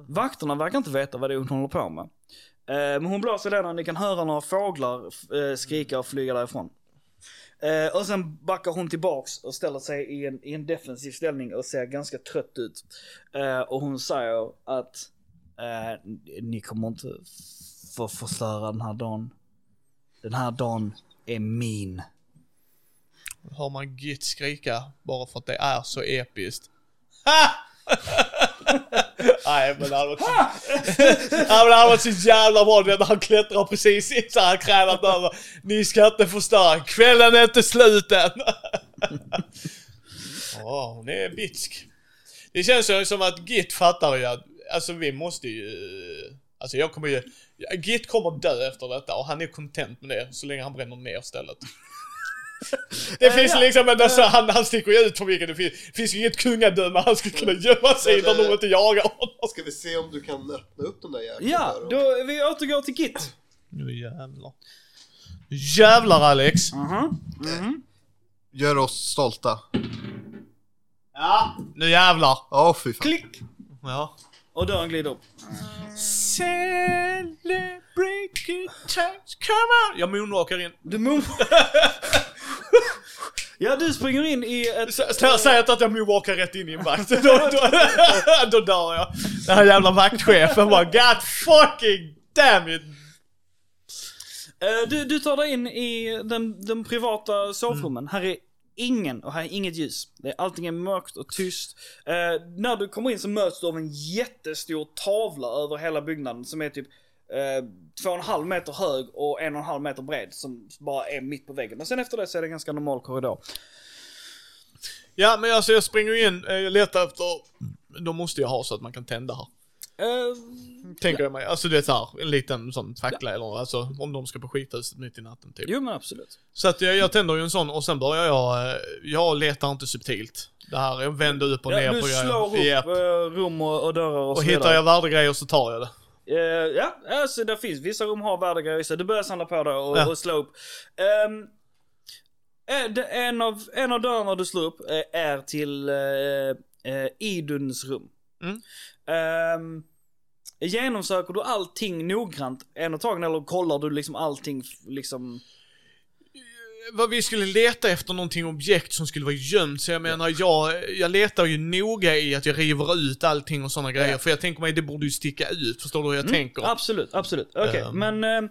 Vakterna verkar inte veta vad det är hon håller på med. Eh, men hon blåser den och ni kan höra några fåglar f- eh, skrika och flyga därifrån. Eh, och sen backar hon tillbaks och ställer sig i en, i en defensiv ställning och ser ganska trött ut. Eh, och hon säger att eh, ni kommer inte få förstöra den här dagen. Den här dagen är min. Hör man Git skrika bara för att det är så episkt. Ha! Nej men det hade varit så, Nej, men det hade varit så jävla bra du vet, när han klättrar precis in såhär kränat över. Ni ska inte förstöra, kvällen är inte slut än. Ja, hon är bitsk. Det känns ju som att Git fattar ju att, alltså vi måste ju, alltså jag kommer ju, Git kommer dö efter detta och han är content med det så länge han bränner ner stället. Det finns ja. liksom en, alltså, han, han sticker ju ut för mycket. Det finns, finns ju inget kungadöme han skulle kunna gömma sig i Men, där eh, någon inte jagar honom. Ska vi se om du kan öppna upp den där jäkeln Ja, där då vi återgår till Git. Nu jävlar. Jävlar Alex! Gör oss stolta. Ja, nu jävlar. Ja, fy fan. Klick! Ja. Och dörren glider upp. Celebrate good times, come on! Jag moonwalkar in. Du mum... ja, du springer in i ett... S- s- Säg inte att jag moonwalkar rätt in i en vakt. Då, då, då dör jag. Den här jävla vaktchefen bara God fucking damn it! Eh, du, du tar dig in i den, den privata Mm. sovrummen. Här är ingen och här är inget ljus. Det, allting är mörkt och tyst. Eh, när du kommer in så möts du av en jättestor tavla över hela byggnaden som är typ eh, två och en halv meter hög och en och en halv meter bred som bara är mitt på väggen. Men sen efter det så är det en ganska normal korridor. Ja men alltså jag springer in, eh, jag letar efter... Då måste jag ha så att man kan tända här. Eh, Tänker jag mig. Alltså det är så här, en liten sån fackla eller alltså om de ska på skithuset mitt i natten typ. jo men absolut. Så att jag, jag tänder ju en sån och sen börjar jag, eh, jag letar inte subtilt. Det här, jag vänder upp och Ja, ner du på slår upp Japp. eh, rum och, och dörrar och, Och så hittar vidare. jag värdegrejer så tar jag det. Eh, ja, alltså det finns vissa rum har värdegrejer så du börjar samla på det och, Ja. och slå upp. Ehm, eh, det- en, av, en av dörrarna du slår upp eh, är till eh, eh, Iduns rum. Mm. Ehm, genomsöker du allting noggrant en och tagen eller kollar du liksom allting f- liksom? Vad vi skulle leta efter någonting objekt som skulle vara gömt, så jag menar jag, jag letar ju noga i att jag river ut allting och sådana grejer. För jag tänker mig, det borde ju sticka ut. Förstår du hur jag Mm. tänker? Absolut, absolut. Okej, Ehm. men eh,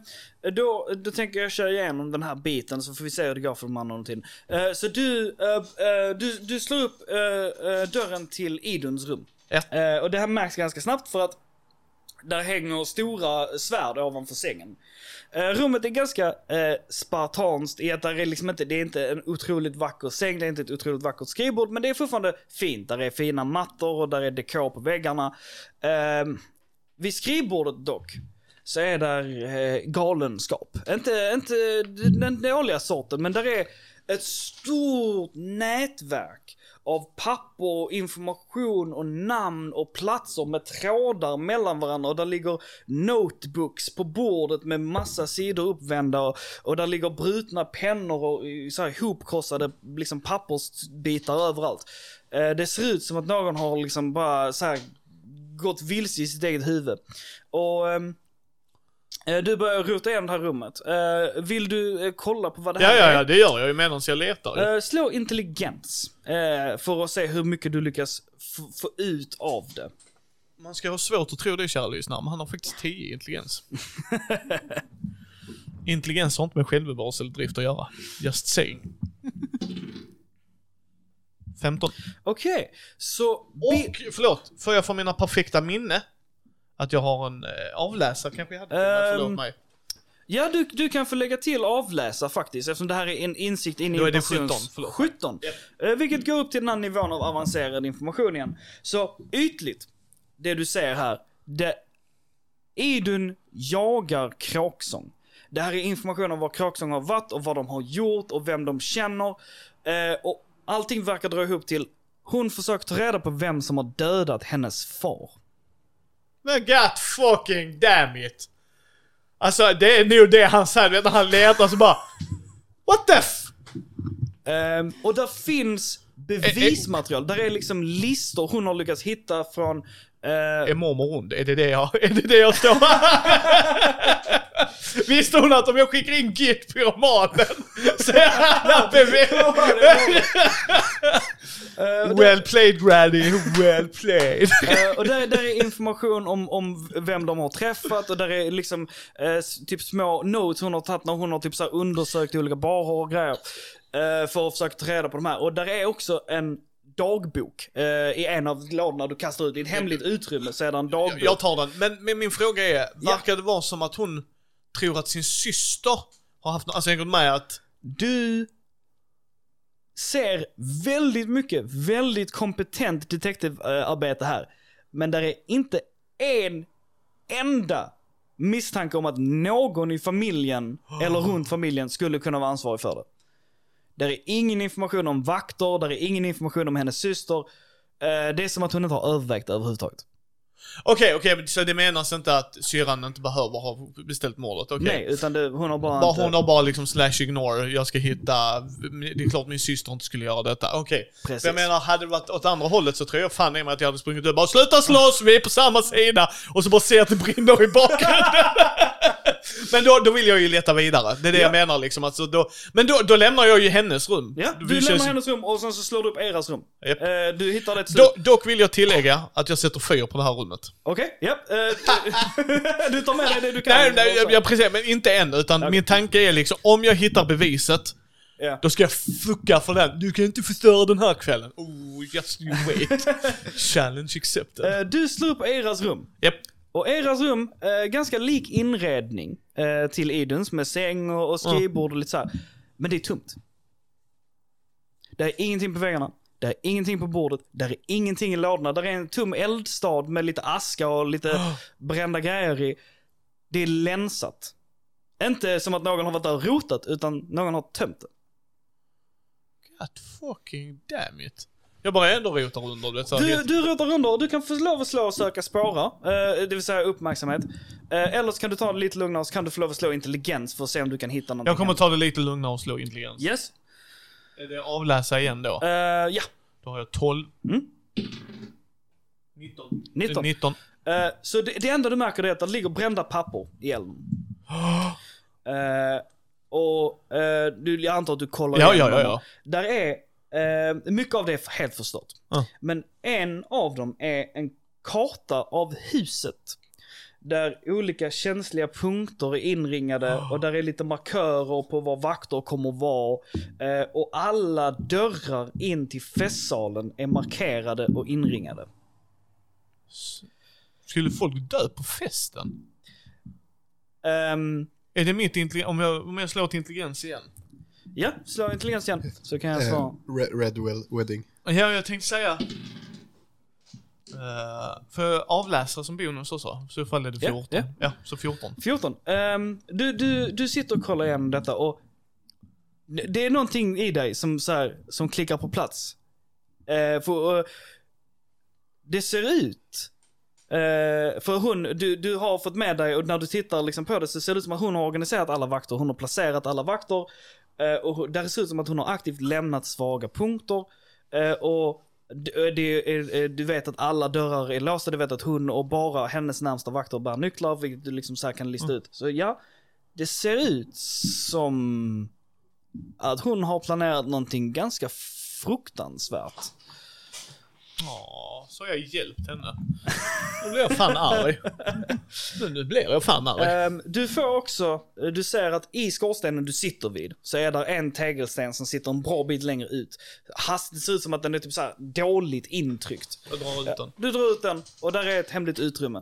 då, då tänker jag köra igenom den här biten så får vi se hur det går för de andra under tiden. Eh, så du, eh, eh, du, du slår upp eh, eh, dörren till Iduns rum. Ja. Eh, och det här märks ganska snabbt för att Där hänger stora svärd ovanför sängen. Eh, rummet är ganska eh, spartanskt i att där är liksom inte, det är inte en otroligt vacker säng, det är inte ett otroligt vackert skrivbord, men det är fortfarande fint. Där är fina mattor och där är dekor på väggarna. Ehm, vid skrivbordet dock, så är där eh, galenskap. Inte, inte den dåliga sorten, men där är ett stort nätverk av papper, och information och namn och platser med trådar mellan varandra och där ligger notebooks på bordet med massa sidor uppvända och, och där ligger brutna pennor och eh, så här ihopkrossade liksom pappersbitar överallt. Eh, det ser ut som att någon har liksom bara så här gått vilse i sitt eget huvud. Och ehm, eh, du börjar rota igenom det här rummet. Eh, vill du eh, kolla på vad det Ja, här ja, är? ja, det gör jag ju medan jag letar. ju. Eh, slå intelligens. eh, för att se hur mycket du lyckas f- få ut av det. Man ska ha svårt att tro det, kära lyssnare, men han har faktiskt 10 i intelligens. intelligens har inte med självbevarelse eller drift att göra. Just saying. 15. Okej, så... bi- Och, förlåt, får jag från mina perfekta minne att jag har en eh, avläsare kanske jag hade? men Ehm, förlåt mig. ja, du, du kan få lägga till avläsa faktiskt eftersom det här är en insikt in i Då är det persons- 17, förlåt. 17. Eh, vilket går upp till den här nivån av avancerad information igen. Så ytligt, det du ser här, det... Idun jagar kråksång. Det här är information om var kråksång har varit och vad de har gjort och vem de känner. Eh, och allting verkar dra ihop till hon försöker ta reda på vem som har dödat hennes far. Men god fucking damn it! Alltså det är nog det han säger, vet du, när han letar så bara... What the f... Ehm, och där finns bevismaterial. Där är liksom listor hon har lyckats hitta från... eh, Är mormor ond? Är det det jag, är det det jag står... Visste hon att om jag skickar in git pyromanen så är alla bevis... eh, och där- Well played granny, well played. eh, och där, där är information om, om vem de har träffat och där är liksom eh, s- typ små notes hon har tagit när hon har typ så här undersökt olika barer och grejer. eh, för att försöka ta reda på de här. Och där är också en dagbok eh, i en av lådorna du kastar ut. I ett hemligt utrymme så är det en dagbok. Jag tar den, men, men min fråga är, verkar det vara som att hon tror att sin syster har haft något, alltså hänger du med att... Du ser väldigt mycket, väldigt kompetent detektivarbete här. Men där är inte en enda misstanke om att någon i familjen eller runt familjen skulle kunna vara ansvarig för det. Där är ingen information om vakter, där är ingen information om hennes syster. Eh, Det är som att hon inte har övervägt det överhuvudtaget. Okej, okej, men så det menas inte att syrran inte behöver ha beställt mordet? Okej. Nej, utan det, hon har bara, Bara inte... hon har bara liksom slash ignore, jag ska hitta, det är klart min syster inte skulle göra detta. Okej. Precis. För Jag menar, hade det varit åt andra hållet så tror jag fan i mig att jag hade sprungit upp och bara sluta slåss, vi är på samma sida! Och så bara se att det brinner i bakgrunden. men då, då vill jag ju leta vidare, det är det jag menar liksom. Alltså, då, men då, då lämnar jag ju hennes rum. Ja, Det du känns- lämnar hennes rum och sen så slår du upp eras rum. Japp. Eh, Du hittar det till slut. Do, dock vill jag tillägga att jag sätter fyr på det här rummet. Okej, ja. eh, du tar med dig det du kan. Nej, nej, jag, jag, precis, men inte än. Utan min tanke är liksom, om jag hittar beviset, Ja. Då ska jag fucka för den. Du kan inte förstöra den här kvällen. Oh, just you wait. Challenge accepted. Eh, Du slår upp Eras rum. Japp. Och Eras rum, eh, ganska lik inredning eh, till Iduns med säng och, och skrivbord och lite så här. Men det är tomt. Det är ingenting på väggarna. Det är ingenting på bordet. Det är ingenting i lådorna. Det är en tom eldstad med lite aska och lite Ah. brända grejer i. Det är länsat. Inte som att någon har varit där och rotat, utan någon har tömt det. God fucking damn it. Jag bara ändå rotar under det. Så Du, du... du rotar under och du kan få lov att slå och söka spåra, eh, det vill säga uppmärksamhet. Eh, eller så kan du ta det lite lugnare så kan du få lov att slå intelligens för att se om du kan hitta någonting. Jag kommer ta det lite lugnare och slå intelligens. Yes. Är det avläsa igen då? Eh, ja, Då har jag 12. Mm. 19. 19. 19. Eh, så det, det enda du märker är att det ligger brända papper i elden. Eh, och eh, du, jag antar att du kollar Ja, igenom ja, ja, dem. ja. Där är, eh, mycket av det är helt förstört. Ja. Men en av dem är en karta av huset. Där olika känsliga punkter är inringade och där är lite markörer på var vakter kommer att vara. Eh, och alla dörrar in till festsalen är markerade och inringade. Skulle folk dö på festen? Ehm, Är det mitt intelligens? Om jag, om jag slår till intelligens igen? ja, slå intelligens igen. Så kan jag svara. Red, Redwell Wedding. Ja, jag tänkte säga... eh, för avläsare som bonus också, så ifall är det Ja, 14. ja. ja så 14. 14. Ehm, du, du, du sitter och kollar igenom detta och det är någonting i dig som, så här, som klickar på plats. Eh, för, eh, det ser ut, eh, för hon, du, du har fått med dig och när du tittar liksom på det så ser det ut som att hon har organiserat alla vakter, hon har placerat alla vakter. Eh, och där ser det ut som att hon har aktivt lämnat svaga punkter. Eh, och d- det är, eh, du vet att alla dörrar är låsta, du vet att hon och bara hennes närmsta vakter bär nycklar, vilket du liksom så här kan lista ut. Så ja, det ser ut som att hon har planerat någonting ganska fruktansvärt. Ja, så har jag hjälpt henne. Nu blir jag fan arg. Nu, nu blir jag fan arg. Ehm, du får också, eh, du ser att i skorstenen du sitter vid så är där en tegelsten som sitter en bra bit längre ut. Hast, det ser ut som att den är typ så här dåligt intryckt. Jag drar ut den. Du drar ut den och där är ett hemligt utrymme.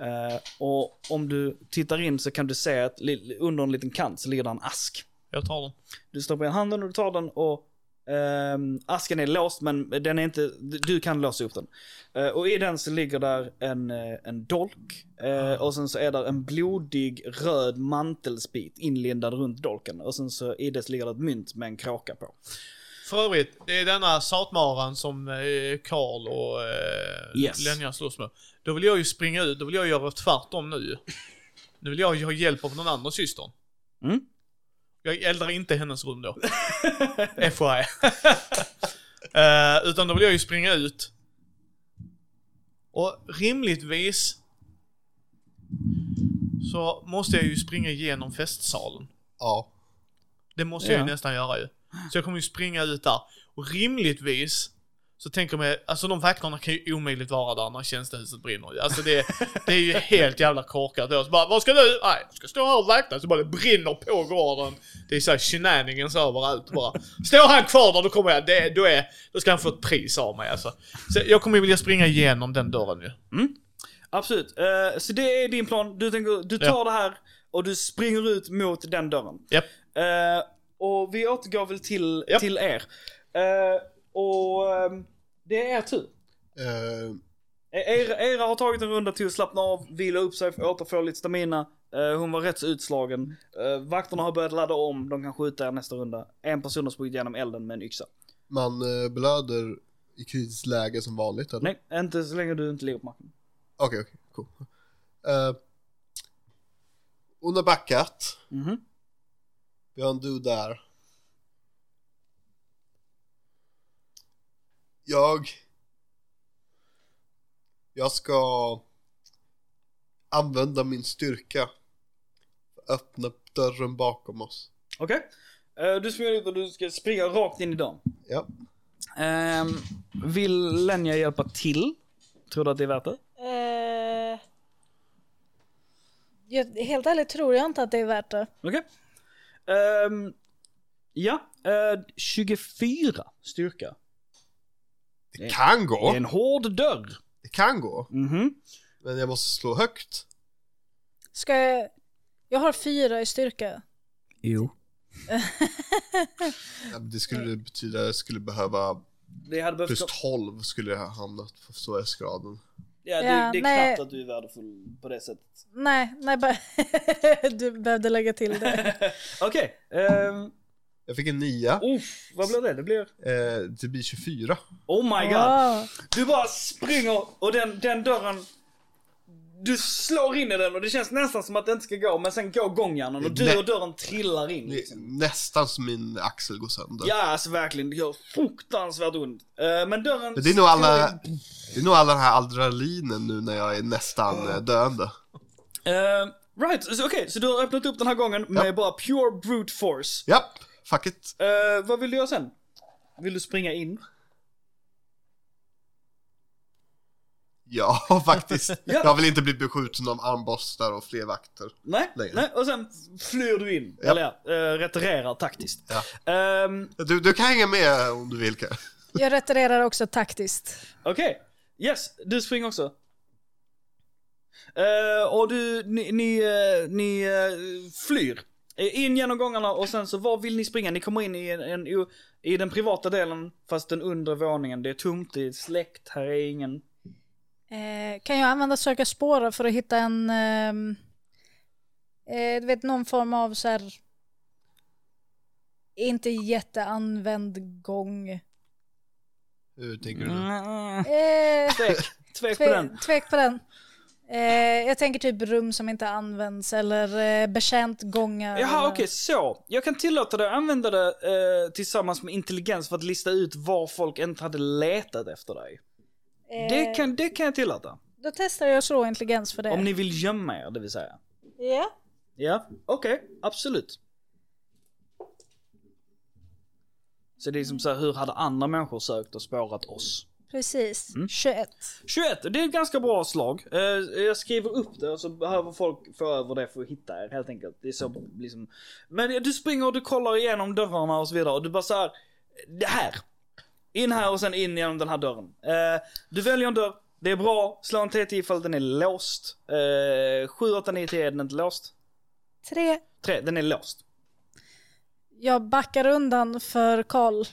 Eh, och om du tittar in så kan du se att li- under en liten kant så ligger där en ask. Jag tar den. Du stoppar in handen och du tar den och ehm, asken är låst men den är inte, du kan låsa upp den. Eh, och i den så ligger där en, eh, en dolk eh, och sen så är där en blodig röd mantelspit inlindad runt dolken och sen så i det ligger det ett mynt med en kråka på. För övrigt, det är denna satmaran som eh, Karl och eh, Yes. Lenja slåss med. Då vill jag ju springa ut, då vill jag göra tvärtom nu. Nu vill jag ju ha hjälp av den andra systern. Mm. Jag eldar inte hennes rum då. FYI. Eh, utan då vill jag ju springa ut. Och rimligtvis så måste jag ju springa igenom festsalen. Ja. Det måste jag Ja. ju nästan göra ju. Så jag kommer ju springa ut där. Och rimligtvis så tänker man alltså de vakterna kan ju omöjligt vara där när tjänstehuset brinner ju. Alltså det, det är ju helt jävla korkat. Och så bara, vad ska du? Nej, jag ska stå här och vakta. Så bara det brinner på gården. Det är såhär shenanigans överallt bara. Står han kvar där då kommer jag, det, då, är, då ska han få ett pris av mig alltså. Så jag kommer ju vilja springa igenom den dörren ju. Absolut, Eh, så det är din plan. Du, tänker, du tar Ja. det här och du springer ut mot den dörren. Japp. Eh, och vi återgår väl till, Japp. till er. Eh, och ehm, det är er tur. E-, Eh, Era, era har tagit en runda till att slappna av, vila upp sig, återfå lite stamina. Eh, hon var rätt så utslagen. Eh, vakterna har börjat ladda om, de kan skjuta er nästa runda. En person har sprungit igenom elden med en yxa. man eh, blöder i kritiskt läge som vanligt eller? Nej, inte så länge du inte ligger på marken. Okej, okej, cool. Eh, hon har backat. Mhm. Vi har en dude där. Jag... Jag ska använda min styrka. Öppna dörren bakom oss. Okej. Eh, du springer ut och du ska springa rakt in i dörren. Ja. Ehm, vill Lenja hjälpa till? Tror du att det är värt det? Eh, jag, helt ärligt tror jag inte att det är värt det. Okej. Ehm, ja, eh, 24 styrka. Det kan Det är gå. en hård dörr. Det kan gå. Mhm. Men jag måste slå högt. Ska jag... Jag har fyra i styrka. Jo. Ja, men Det Eh. skulle betyda att jag skulle behöva Det hade behövt... plus 12 skulle jag ha hamnat på svårighetsgraden. Ja, det, Ja, det är nej. knappt att du är värdefull på det sättet. Nej, nej bara... du behövde lägga till det. Okej. ehm, Jag fick en 9. uff, vad blir det? Det blir... Eh, det blir 24. Oh my god. Wow. Du bara springer och den, den dörren... Du slår in i den och det känns nästan som att det inte ska gå, men sen går gångjärnen och du Nej. och dörren trillar in. Det Liksom. är nästan som min axel går sönder. Ja, alltså verkligen. Det gör fruktansvärt ont. Eh, men dörren... Men det är nog alla, det är nog alla den här adrenalinen nu när jag är nästan eh, döende. Eh, right, så- okej, så du har öppnat upp den här gången med Ja. bara pure brute force. Japp, fuck it. Eh, vad vill du göra sen? Vill du springa in? Ja, faktiskt. Ja. Jag vill inte bli beskjuten av armborstar och fler vakter. Nej, Längre. nej, och sen flyr du in. Ja. Eller ja, eh, retirerar taktiskt. Ja. Ehm, Du, du kan hänga med om du vill. Ka- Jag retirerar också taktiskt. Okej, yes, du springer också. Eh, och du, ni, ni, eh, ni eh, flyr. Eh, In genom gångarna och sen så var vill ni springa? Ni kommer in i, en, en, o- i den privata delen fast den undre våningen. Det är tomt, det är släckt, här är ingen. Eh, kan jag använda söka spår för att hitta en, ehm, eh, du vet någon form av så här, inte jätteanvänd gång. Hur tänker du nu? Mm. Eh, Tvek, tvek på den. tve, tvek på den. Eh, jag tänker typ rum som inte används eller eh, betjänt gångar. Jaha, eller- okej, så. Jag kan tillåta dig att använda det eh, tillsammans med intelligens för att lista ut var folk inte hade letat efter dig. Det, Eh, kan, det kan jag tillåta. Då testar jag att slå intelligens för det. Om ni vill gömma er, det vill säga. Ja. Ja, okej, absolut. Så det är liksom så här, hur hade andra människor sökt och spårat oss? Precis, Mm. 21. 21, det är ett ganska bra slag. Eh, jag skriver upp det och så behöver folk få över det för att hitta er helt enkelt. Det är så liksom. Men eh, du springer och du kollar igenom dörrarna och så vidare och du bara så här. Det här. In här och sen in genom den här dörren. Eh, du väljer en dörr. Det är bra. Slå en T10 ifall den är låst. Eh, 7, 8, 9, 10 är den inte låst. 3. 3, den är låst. Jag backar undan för Karl.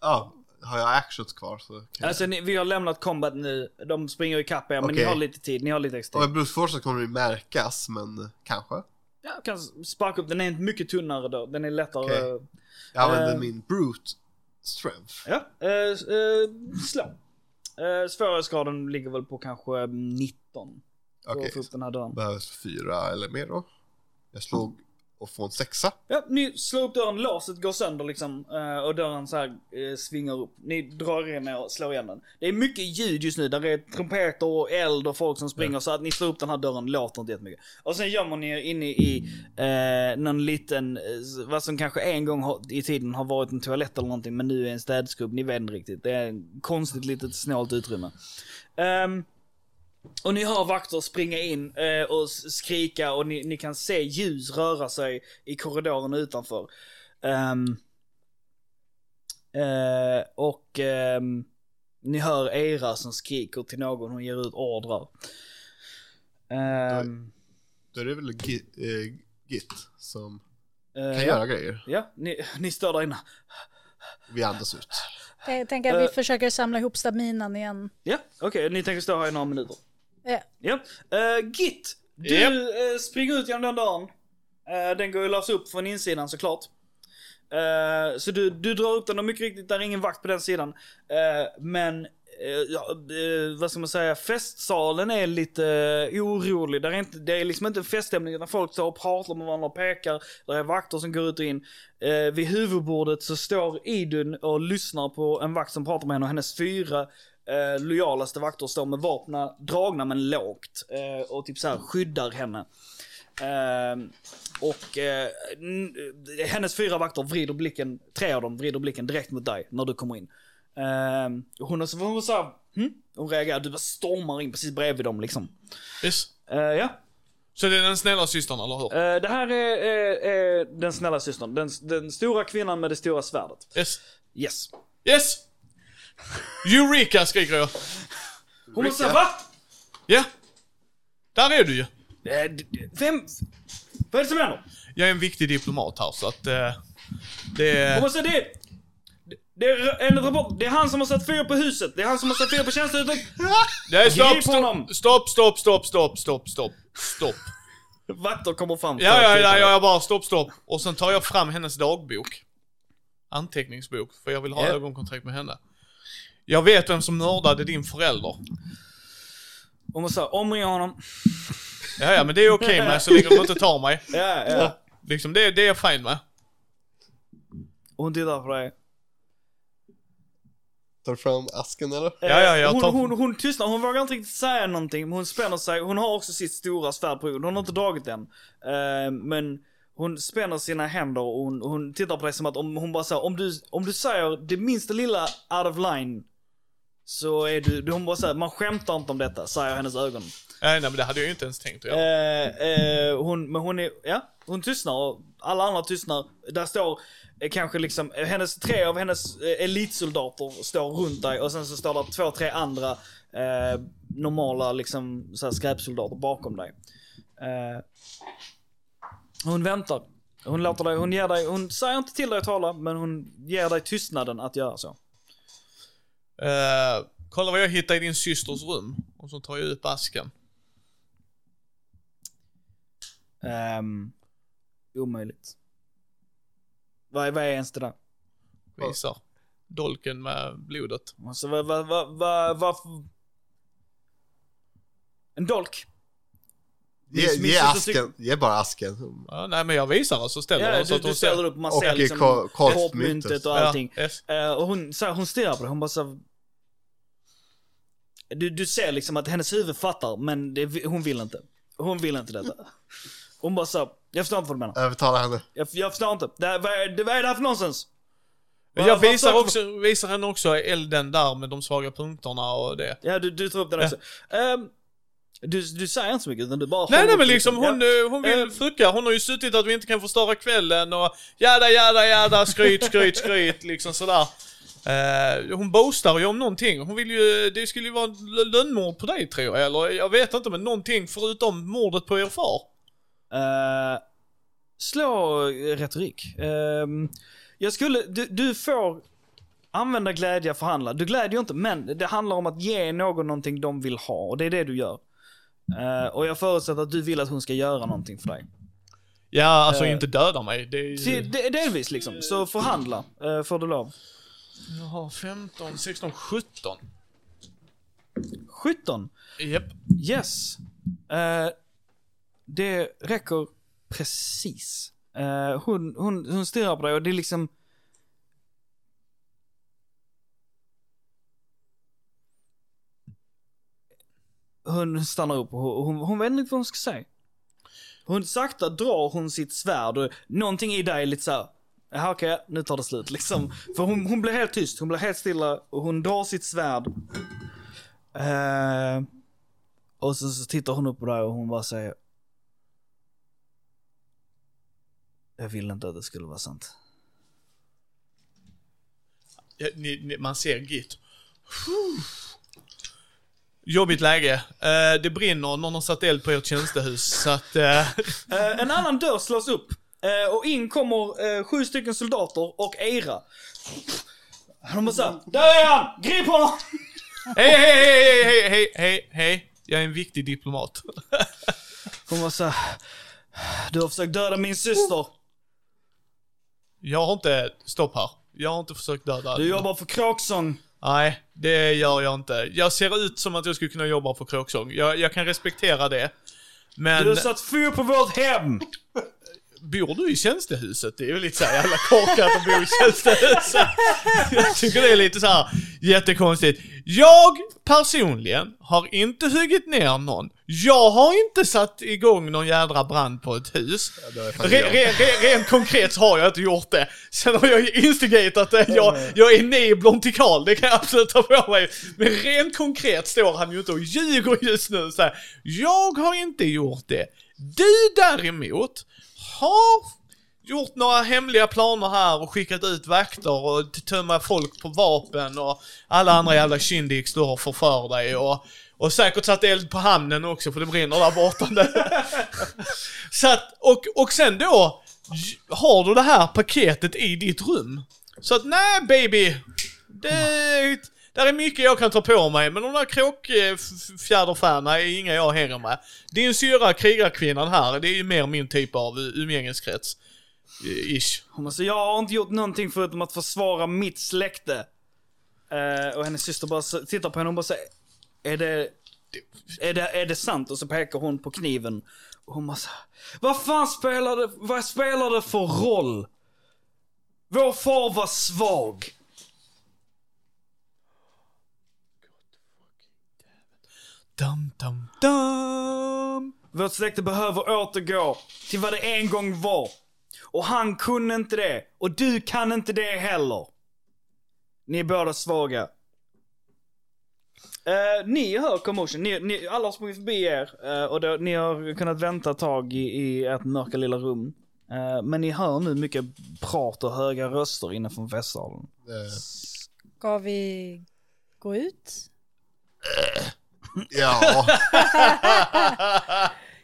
Ja, har jag actions kvar så kan jag... Alltså ni, vi har lämnat combat nu, de springer ikapp er men ni Typ. Okej. har lite tid, ni har lite extra Och tid. med brute force så kommer det märkas, men kanske. Jag kan sparka upp, den är mycket tunnare då, den är lättare. Okej. Jag Eh. använder min brute strength. Ja, eh, s- eh, slå. Eh, svårighetsgraden ligger väl på kanske 19. För Okej, att få upp den här dörren. behövs fyra eller mer då. Jag slog och får en sexa. Ja, ni slår upp dörren, låset går sönder liksom eh, och dörren så här eh, svingar upp. Ni drar in er och slår igen den. Det är mycket ljud just nu, där är trumpeter och eld och folk som springer så att ni slår upp den här dörren låter inte jättemycket. Och sen gömmer ni er inne i eh, någon liten, eh, vad som kanske en gång har, i tiden har varit en toalett eller någonting men nu är en städskrubb, ni vet inte riktigt. Det är ett konstigt litet snålt utrymme. Ehm, och ni hör vakter springa in eh, och s- skrika och ni, ni kan se ljus röra sig i korridoren utanför. Ehm, eh, och ehm, ni hör Eira som skriker till någon, hon ger ut ordrar. Ehm, Då är det väl Git, eh, git som eh, kan ja, göra grejer. ja ni, ni står där inne. Vi andas ut. Jag tänker att vi Eh. försöker samla ihop staminan igen. Ja, okej, ni tänker stå här i några minuter. Ja. Ja. Eh, Git, du Japp. eh, springer ut genom den dörren. Eh, den går ju att lösa upp från insidan såklart. Eh, så du, du drar upp den och mycket riktigt, där är ingen vakt på den sidan. Eh, men, eh, ja, eh, vad ska man säga, festsalen är lite eh, orolig. Där är inte, det är liksom inte en feststämning utan folk står och pratar med varandra och pekar. Där är vakter som går ut och in. Eh, vid huvudbordet så står Idun och lyssnar på en vakt som pratar med henne och hennes fyra eh, lojalaste vakter står med vapna dragna men lågt eh, och typ så här skyddar henne. Ehm, och eh, n- eh, hennes fyra vakter vrider blicken, tre av dem vrider blicken direkt mot dig när du kommer in. Ehm, hon är så, hon är så här, hm? Hon reagerar, du bara stormar in precis bredvid dem liksom. Yes. Eh, ja, Så det är den snälla systern, eller hur? Eh, det här är, eh, eh, den snälla systern. Den, den stora kvinnan med det stora svärdet. Yes. Yes. Yes! Eureka skriker jag. Hon måste säga, Ulrika. va? Ja. Där är du ju. Eh, d- d- Vem? Vad är det som händer? Jag är en viktig diplomat här, så att... Eh, det Hon är... måste säga, det är... Det är en rapport. Det är han som har satt fyr på huset. Det är han som har satt fyr på tjänstehuset. Nej, Grip stopp, honom. stopp, stopp, stopp, stopp, stopp, stopp, stopp, stopp. Vakter kommer fram. Ja, ja, ja, ja, jag bara stopp, stopp. Och sen tar jag fram hennes dagbok. Anteckningsbok, för jag vill ha Ja. ögonkontakt med henne. Jag vet vem som mördade din förälder. Hon måste säga, omringa honom. Ja, ja, men det är okej med så länge de inte tar mig. Ja, ja. Liksom, det, det är jag fine med. Och Hon tittar på dig. Tar fram asken eller? Ja, ja, jag hon, tar- hon, hon tystnar, hon vågar inte riktigt säga någonting. men Hon spänner sig, hon har också sitt stora svärd på ryggen. Hon har inte dragit den. Eh, men hon spänner sina händer och hon, hon tittar på dig som att om hon bara säger om du, om du säger det minsta lilla out of line. Så är du, hon bara säger man skämtar inte om detta, säger hennes ögon. Nej, nej, men det hade jag ju inte ens tänkt att göra. Eh, eh, hon, men hon är, ja, hon tystnar och alla andra tystnar. Där står eh, kanske liksom, eh, hennes, tre av hennes eh, elitsoldater står runt dig och sen så står det två, tre andra eh, normala liksom så här skräpsoldater bakom dig. Eh, hon väntar. Hon låter dig, hon ger dig, hon säger inte till dig att tala men hon ger dig tystnaden att göra så. Eh, kolla vad jag hittar i din systers rum. Och så tar jag upp asken. Ehm, omöjligt. Vad är, vad är ens det där? Visar. Dolken med blodet. Alltså vad, vad, vad, vad, vad... En dolk? Ge, Miss- ge Mrs. asken, ge bara asken. Ja, nej men jag visar och så ställer Ja, jag så du, att hon du ställer upp, man Och ser i liksom ka- kartmyntet. kortmyntet och Ja, allting. yes. Eh, och hon, så här, hon stirrar på det, hon bara så här, du, du ser liksom att hennes huvud fattar, men det, hon vill inte. Hon vill inte detta. Hon bara så här, jag förstår inte vad du menar. Övertala henne. Jag, jag förstår inte. Det, här- vad, är, det, vad är det här för nonsens? Jag Vad- vad visar, försöker- också, visar henne också elden där med de svaga punkterna och det. Ja, du, du tar upp den Ja. också. Ehm, du, du säger inte så mycket, utan du bara... Nej håller nej men upp liksom hon, Ja. eh, hon vill fucka, hon har ju suttit att vi inte kan förstöra kvällen och jada jada jada skryt skryt skryt liksom sådär. Eh, hon boastar ju om någonting, hon vill ju, det skulle ju vara l- lönnmord på dig tror jag, eller jag vet inte men någonting förutom mordet på er far. Eh, slå eh, retorik. Ehm, jag skulle... Du, du får använda glädje att förhandla. Du glädjer inte, men det handlar om att ge någon någonting de vill ha. Och det är det du gör. Eh, och jag förutsätter att du vill att hon ska göra någonting för dig. Ja alltså Eh. inte döda mig, det är Till- ju... de- Delvis liksom, så förhandla eh, får du lov. Jag har 15, 16, 17. 17. Japp. Yes. Eh, det räcker precis. Eh, hon, hon, hon stirrar på dig och det är liksom... Hon stannar upp och hon, hon, hon vet inte vad hon ska säga. Hon sakta drar hon sitt svärd och någonting i dig är lite såhär, jaha okej, nu tar det slut liksom. För hon, hon blir helt tyst, hon blir helt stilla och hon drar sitt svärd. Eh, och sen så tittar hon upp på dig och hon bara säger. Jag ville inte att det skulle vara sant. Ja, ni, ni, man ser git. Jobbigt läge. Eh, det brinner, någon har satt eld på ert tjänstehus så att... eh, Eh, en annan dörr slås upp. Eh, och in kommer eh, sju stycken soldater och Eira. De bara såhär, där är han! Grip honom! Hej, hej, hej, hej, hej, hej, hej, hej. Jag är en viktig diplomat. Hon var såhär, du har försökt döda min syster. Jag har inte... Stopp här. Jag har inte försökt döda... Du jobbar för kråksång. Nej, det gör jag inte. Jag ser ut som att jag skulle kunna jobba för kråksång. Jag, jag kan respektera det. Men... Du har satt fyr på vårt hem! Bor du i tjänstehuset? Det är ju lite såhär jävla korkat att bo i tjänstehuset. Jag tycker det är lite såhär jättekonstigt. Jag personligen har inte huggit ner någon. Jag har inte satt igång någon jädra brand på ett hus. det har jag fan Re, gjort. re, re, rent konkret så har jag inte gjort det. Sen har jag ju instigatat det. Jag, jag är neblon till Karl, det kan jag absolut ta på mig. Men rent konkret står han ju inte och ljuger just nu. Så här, jag har inte gjort det. Du däremot har gjort några hemliga planer här och skickat ut vakter och t- tömma folk på vapen och alla andra jävla kindiks du har förför dig och, och säkert satt eld på hamnen också för det brinner där borta nu. Så att, och, och sen då j- har du det här paketet i ditt rum. Så att nej baby, det, där är mycket jag kan ta på mig men de där eh, kråkfjäderfärgerna är inga jag hänger med. Din syra, krigarkvinnan här, det är ju mer min typ av umgängeskrets. Eh, Ish. Hon bara, så jag har inte gjort någonting förutom att försvara mitt släkte. Eh, och hennes syster bara så- tittar på henne och bara säger, är det, är det, är det sant? Och så pekar hon på kniven. Och hon bara så här, vad fan spelar det, vad spelar det för roll? Vår far var svag. Dum, dum, dum. Vårt släkte behöver återgå till vad det en gång var. Och han kunde inte det. Och du kan inte det heller. Ni är båda svaga. Eh, ni hör commotion. Ni, ni, alla har sprungit förbi er eh, och då, ni har kunnat vänta ett tag i, i ert mörka lilla rum. Eh, Men ni hör nu mycket prat och höga röster inne från festsalen. Eh, Ska vi gå ut? ja.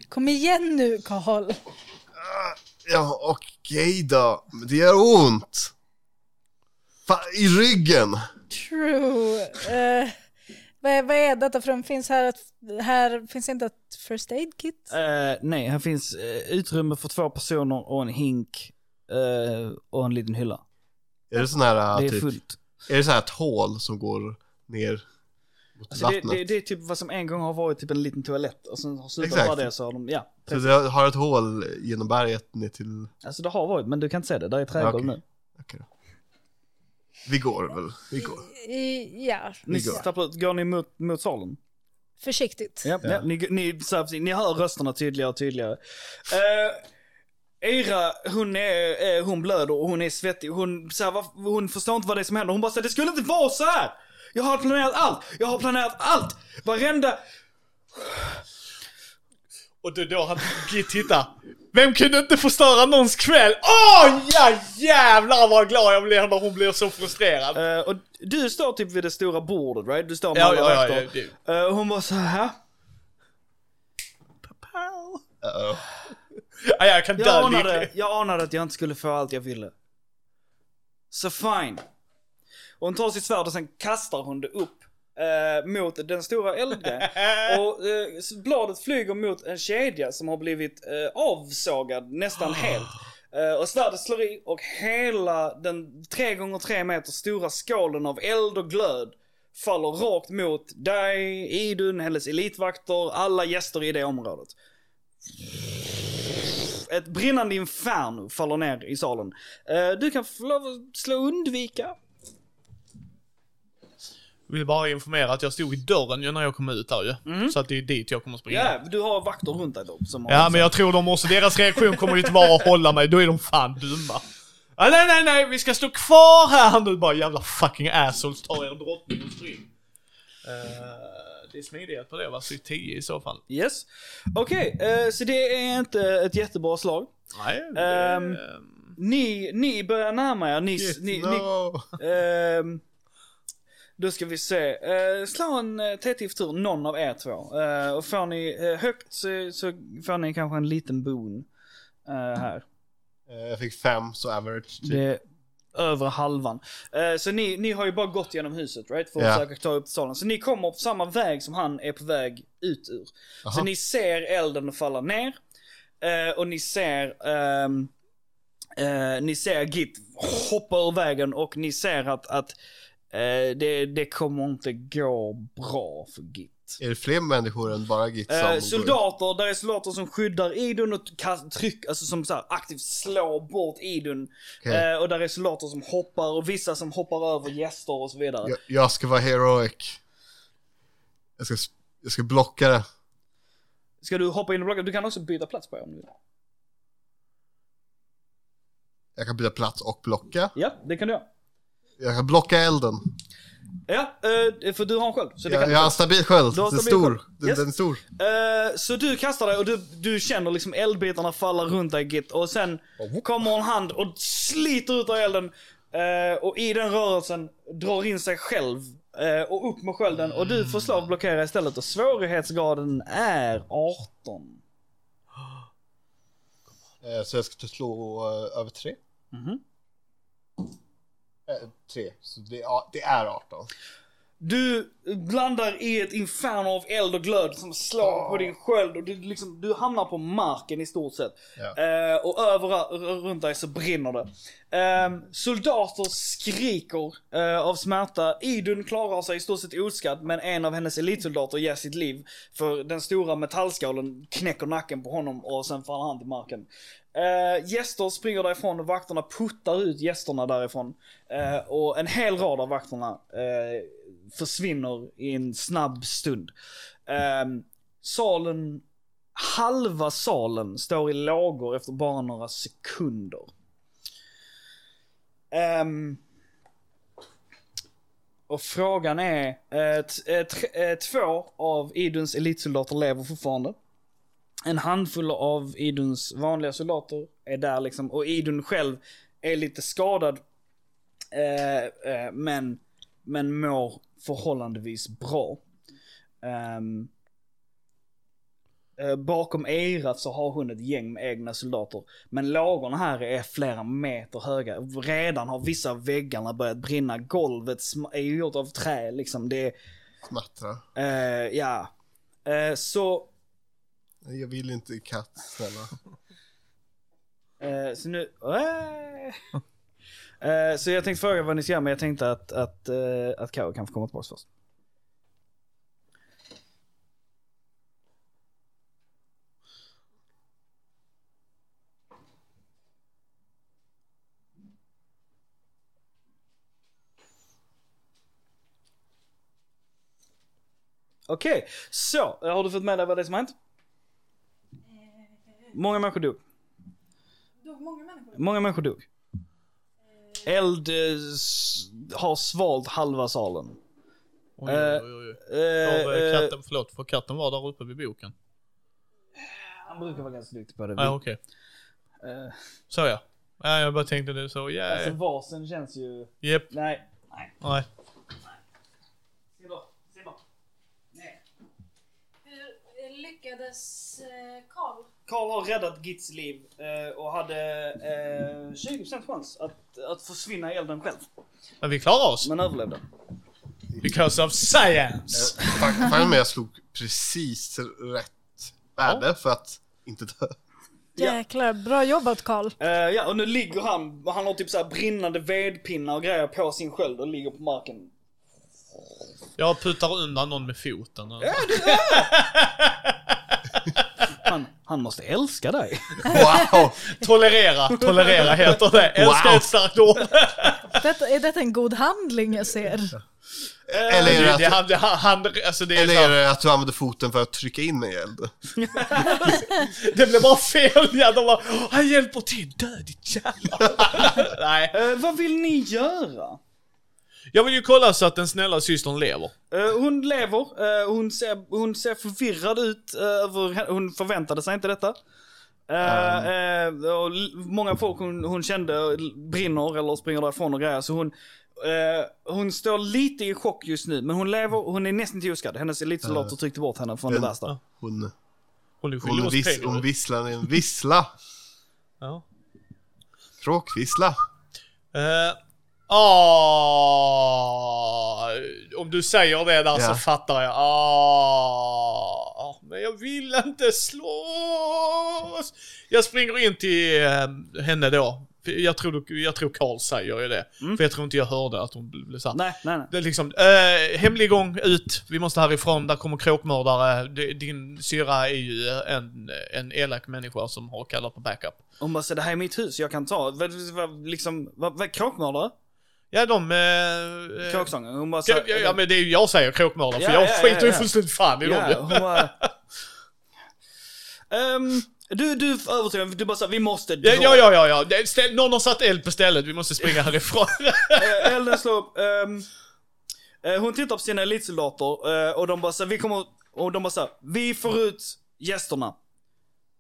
Kom igen nu Karl. Ja, okej då. Men Det gör ont. Fan, I ryggen. True. Eh, vad, är, vad är detta för de finns här, ett- här finns inte ett first aid kit? Eh, nej, här finns eh, utrymme för två personer och en hink eh, och en liten hylla. Är det sån här, det äh, är typ, fullt. är det så här ett hål som går ner mot Alltså det, vattnet? det, det är typ vad som en gång har varit typ en liten toalett och sen har slutat Exakt. vara det så har de, ja. Så det har ett hål genom berget ner till... Alltså det har varit, men du kan inte se det. Där är trägolv Okej. nu. Okej då. Vi går väl. Vi går. I, ja, Ni går. stapplar, ut- går ni mot, mot salen? försiktigt. Ja, ja. ni, ni, så här, precis, ni hör rösterna tydligare och tydligare. Eh, Eira, hon, är, eh, hon blöder och hon är svettig. Hon, så här, varf- hon förstår inte vad det är som händer. Hon bara säger det skulle inte vara så här. Jag har planerat allt! Jag har planerat allt! Varenda... Och då, då han Git tittar. Vem kunde inte förstöra någons kväll? Åh ja jävlar vad glad jag blir när hon blir så frustrerad. Eh, och du står typ vid det stora bordet, right? Du står med Ja, alla ja, ja, vakter. ja, det- Eh, hon var så här. Papau. Uh-oh. Ja, jag kan Jag dö anade, lycklig. jag anade att jag inte skulle få allt jag ville. Så fine. Och hon tar sitt svärd och sen kastar hon det upp eh, mot den stora eldgrejen. och eh, s- bladet flyger mot en kedja som har blivit eh, avsågad nästan helt. Eh, och svärdet slår i och hela den 3 gånger 3 meter stora skålen av eld och glöd faller rakt mot dig, Idun, hennes elitvakter, alla gäster i det området ett brinnande inferno faller ner i salen. Eh, du kan få lov att slå undvika. Vill bara informera att jag stod i dörren ju när jag kom ut där ju. Mm. Så att det är dit jag kommer springa. Ja, du har vakter runt dig då. Som har Ja, men jag tror de också, deras reaktion kommer ju inte vara att hålla mig, då är de fan dumma. Ah, nej, nej, nej, vi ska stå kvar här nu bara jävla fucking assholes, ta er drottning och spring. Eh, det är smidighet på det va, så i 10 i så fall. Yes. Okej, eh, så det är inte ett jättebra slag. Nej, Ehm, ehm, Ni, ni börjar närma er. Ni, ni, ni, No. ehm, då ska vi se. Eh, slå en uh, tur, någon av er två. Eh, och får ni eh, högt så, så får ni kanske en liten bon eh, här. Eh, Jag fick fem, så average. Typ. Det är över halvan. Eh, så ni, ni har ju bara gått genom huset right? För att Ja. försöka ta upp salen. Så ni kommer på samma väg som han är på väg ut ur. Så Aha. ni ser elden falla ner. eh, och ni ser ehm, eh, Ni ser Git hoppa ur vägen och ni ser att, att eh, det, det kommer inte gå bra för Git. Är det fler människor än bara Git som Eh, går- soldater, där är soldater som skyddar Idun och kast, tryck, alltså som så här aktivt slår bort Idun. Okej. Eh, och där är soldater som hoppar och vissa som hoppar över gäster och så vidare. Jag, jag ska vara heroic. Jag ska, sp- jag ska blocka det. Ska du hoppa in och blocka? Du kan också byta plats på er om du vill. Jag kan byta plats och blocka. Ja, det kan du göra. Jag kan blocka elden. Ja, eh, för du har en sköld. Så, det Jag, kan jag har en du. stabil sköld. Du har Den är stabil stor. sköld. Den, Yes. den är stor. Eh, så du kastar dig och du, du känner liksom eldbitarna falla runt dig Git. Och sen kommer en hand och sliter ut av elden. Eh, och i den rörelsen drar in sig själv. eh, och upp med skölden. Och du får slå och blockera istället. Och svårighetsgraden är 18. Eh, Så jag ska slå eh, över tre. Mhm. Eh, Tre, så det är, det är 18. Du blandar i ett inferno av eld och glöd som slår på din sköld och du, liksom, du hamnar på marken i stort sett. Ja. Eh, och över, runt dig så brinner det. Eh, soldater skriker eh, av smärta. Idun klarar sig i stort sett oskadd men en av hennes elitsoldater ger sitt liv. För den stora metallskalen knäcker nacken på honom och sen faller han till marken. Eh, gäster springer därifrån och vakterna puttar ut gästerna därifrån. Eh, och en hel rad av vakterna eh, försvinner i en snabb stund. Eh, salen, halva salen står i lågor efter bara några sekunder. Ehm, och frågan är, eh, t- eh, tre- eh, två av Iduns elitsoldater lever fortfarande. en handfull av Iduns vanliga soldater är där liksom. Och Idun själv är lite skadad. Eh, eh, men, men mår förhållandevis bra. Ehm, eh, bakom Eirat så har hon ett gäng med egna soldater. Men lågorna här är flera meter höga. Redan har vissa av väggarna börjat brinna. Golvet sm- är ju gjort av trä liksom. Det är, Smattra. eh, ja. Eh, så Nej, Jag vill inte i katt, snälla. Eh, så nu... Eh. Eh, så jag tänkte fråga vad ni ska göra, men jag tänkte att, att, eh, att Kao kan få komma tillbaka först. Okej, så eh, har du fått med dig vad det är som har hänt? Många människor dog. Dog många människor? Många människor dog. Eld eh, s- har svalt halva salen. Oj, Eh, oj, oj, oj. Eh, För, eh, eh, katten, förlåt, för katten var där uppe vid boken. han brukar vara ganska duktig på det. Ja, okej. Eh, Så ja. ja. Jag bara tänkte det så, ja. alltså vasen känns ju... Japp, Nej. Nej. nej. Se bort. Se bort. Nej. Hur lyckades eh, Karl? Karl har räddat Gits liv eh, och hade eh, 20% chans att, att försvinna i elden själv. Men vi klarar oss. Men överlevde. Because of science! Faktum är att Eh, jag slog precis rätt värde för att inte dö. Ja. Jäklar, bra jobbat Karl. Eh, ja, och nu ligger han, han har typ så här brinnande vedpinnar och grejer på sin sköld och ligger på marken. Jag putar undan någon med foten. Han, han måste älska dig. Wow! Tolerera, tolerera heter det. Älska Wow. ett starkt ord. Detta, är detta en god handling jag ser? Eller är Det, det, det att, han, det, han, han- alltså det, är eller så är här, det att du använder foten för att trycka in mig i eld? det blev bara fel. Ja, de bara, "Åh, han hjälper till. Dö ditt jävla... Nej. Eh, vad vill ni göra? Jag vill ju kolla så att den snälla systern lever. Eh, hon lever, eh, hon, ser, hon ser förvirrad ut, eh, över, hon förväntade sig inte detta. Ah. Eh, eh, och l- många folk hon, hon kände l- brinner eller springer därifrån och grejer så hon, eh, hon står lite i chock just nu men hon lever, hon är nästan till oskadd. Hennes elitsoldater Ah. tryckte bort henne från det Men- värsta. Hon, Hon är skyldig hon, oss vis, pengar. hon visslar en vissla. Ja. Kråkvissla. Eh, ah, om du säger det där så Ja. fattar jag. Ah, men jag vill inte slåss. Jag springer in till eh, henne då. För Jag tror, du- jag tror Carl säger ju det. För jag tror inte jag hörde att hon blev såhär. Nej, nej, nej. Det är liksom, eh, hemlig gång, ut, vi måste härifrån, där kommer kråkmördare. D- Din syra är ju en, en elak människa som har kallat på backup. Hon bara, så det här är mitt hus, jag kan ta, vad, vad, liksom, vad, vad, kråkmördare? Ja, de... eh, eh, Kråksångaren. Hon bara, så, Ja, ja, ja men det är ju jag säger kråkmålare Ja, för jag ja, ja, skiter ja. ju fullständigt fan i Ja, dem. hon bara... Ehm, du, du övertygar mig, du bara sa vi måste dra. Ja, ja, ja, ja, ja. Det är ställ- någon har satt eld på stället, vi måste springa härifrån. Eh, elden slår upp. ehm, eh, hon tittar på sina elitsoldater eh, och de bara så vi kommer, och de bara så vi får ut gästerna.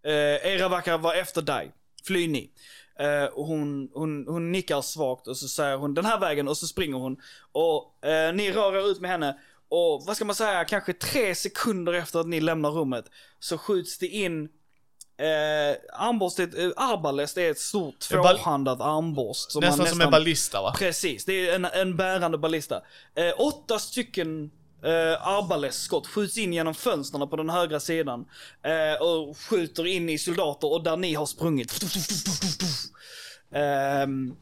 Eh, era verkar vara efter dig. Fly ni. Eh, och hon, hon, hon nickar svagt och så säger hon den här vägen och så springer hon. Och eh, ni rör er ut med henne. Och vad ska man säga, kanske tre sekunder efter att ni lämnar rummet så skjuts det in Eh, armborstet, eh, arbalest är ett stort En bal- tvåhandat armborst. som man nästan som en ballista va? Precis, det är en, en bärande ballista. Eh, åtta stycken eh, arbalestskott skjuts in genom fönstren på den högra sidan. Eh, och skjuter in i soldater och där ni har sprungit. Ehm,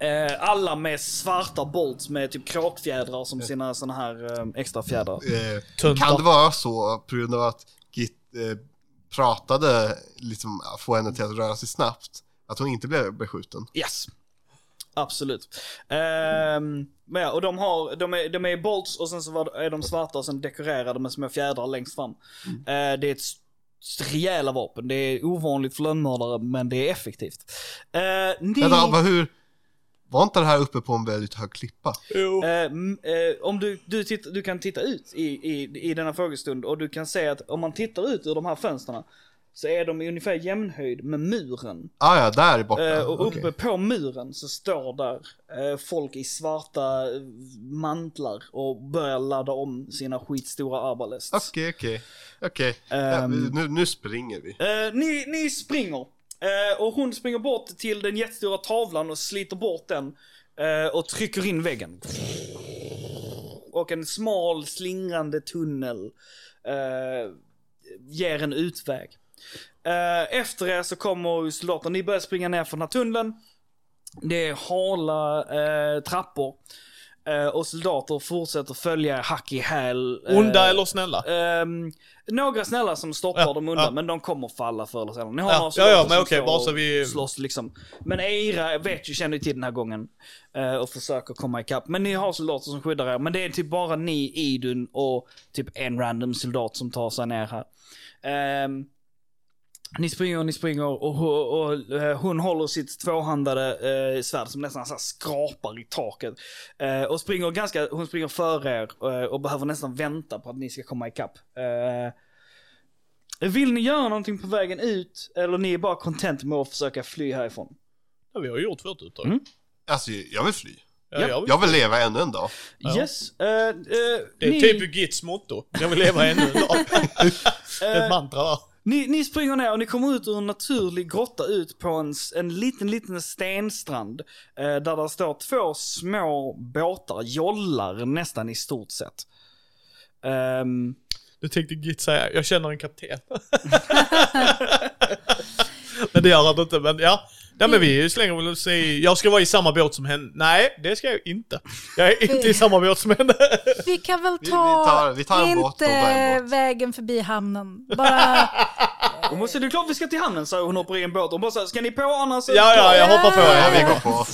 eh, alla med svarta bolts med typ kråkfjädrar som sina såna här eh, extra fjädrar. Eh, Tuntar. kan det vara så på grund av att Git eh, pratade, liksom få henne till att röra sig snabbt, att hon inte blev beskjuten? Yes. Absolut. Ehm, men ja, och de, har, de, är, de är bolts och sen så var, är de svarta och sen dekorerade med små fjädrar längst fram. Eh, det är ett s- rejäla vapen. Det är ovanligt för lönnmördare men det är effektivt. Eh, ni... Vänta, vad, hur? Var inte det här uppe på en väldigt hög klippa? Jo. Eh, m- eh, om du, du, titt, du kan titta ut i, i, i denna frågestund och du kan se att om man tittar ut ur de här fönstren så är de i ungefär jämnhöjd med muren. Ah, ja, där borta. Eh, och Okej. uppe på muren så står där eh, folk i svarta eh, mantlar och börjar ladda om sina skitstora arbalests. Okej, okej. Okej, Ja, Ehm. vi- nu, nu springer vi. Eh, ni, ni springer. Eh, och hon springer bort till den jättestora tavlan och sliter bort den. eh, och trycker in väggen. Och en smal slingrande tunnel eh, ger en utväg. Eh, efter er så kommer soldaterna, ni börjar springa ner för den här tunneln. Det är hala eh, trappor. Eh, och soldater fortsätter följa er hack i häl. eh, Onda eller snälla? Ehm, några snälla som stoppar Ja, dem undan, ja. men de kommer falla förr eller senare. Ni har Ja, några ja, ja, soldater men som okej, står bara så och vi- slåss liksom. Men Eira vet ju, känner ju till den här gången eh, och försöker komma ikapp. Men ni har soldater som skyddar er, men det är typ bara ni, Idun och typ en random soldat som tar sig ner här. Ehm, ni springer, ni springer och, och, och eh, hon håller sitt tvåhandade eh, svärd som nästan så här skrapar i taket. Eh, och springer ganska, hon springer före er eh, och behöver nästan vänta på att ni ska komma ikapp. Eh, vill ni göra någonting på vägen ut eller ni är bara content med att försöka fly härifrån? Ja, vi har gjort vårt uppdrag. Mm. Alltså, jag vill fly. Ja, Ja. jag vill- Jag vill leva ännu en dag. Ja. Yes. Eh, eh, Det är ni, typ Gits motto. Jag vill leva ännu en dag. Ett eh, mantra där. Ni, ni springer ner och ni kommer ut ur en naturlig grotta ut på en, s- en liten, liten stenstrand. Eh, där det står två små båtar, jollar nästan i stort sett. Ehm, Du tänkte Git säga, jag känner en kapten. men det gör han inte, men ja. Nej men vi slänger väl oss i, jag ska vara i samma båt som henne. Nej, det ska jag inte. Jag är inte i samma båt som henne. Vi kan väl ta, vi tar- vi tar en inte båt och tar en båt. vägen förbi hamnen. Bara, hon bara, så det är klart vi ska till hamnen, sa hon hoppar i en båt. Hon bara, så här, ska ni på annars? är det Ja, ja, klart." jag hoppar på Ja, vi er. går på.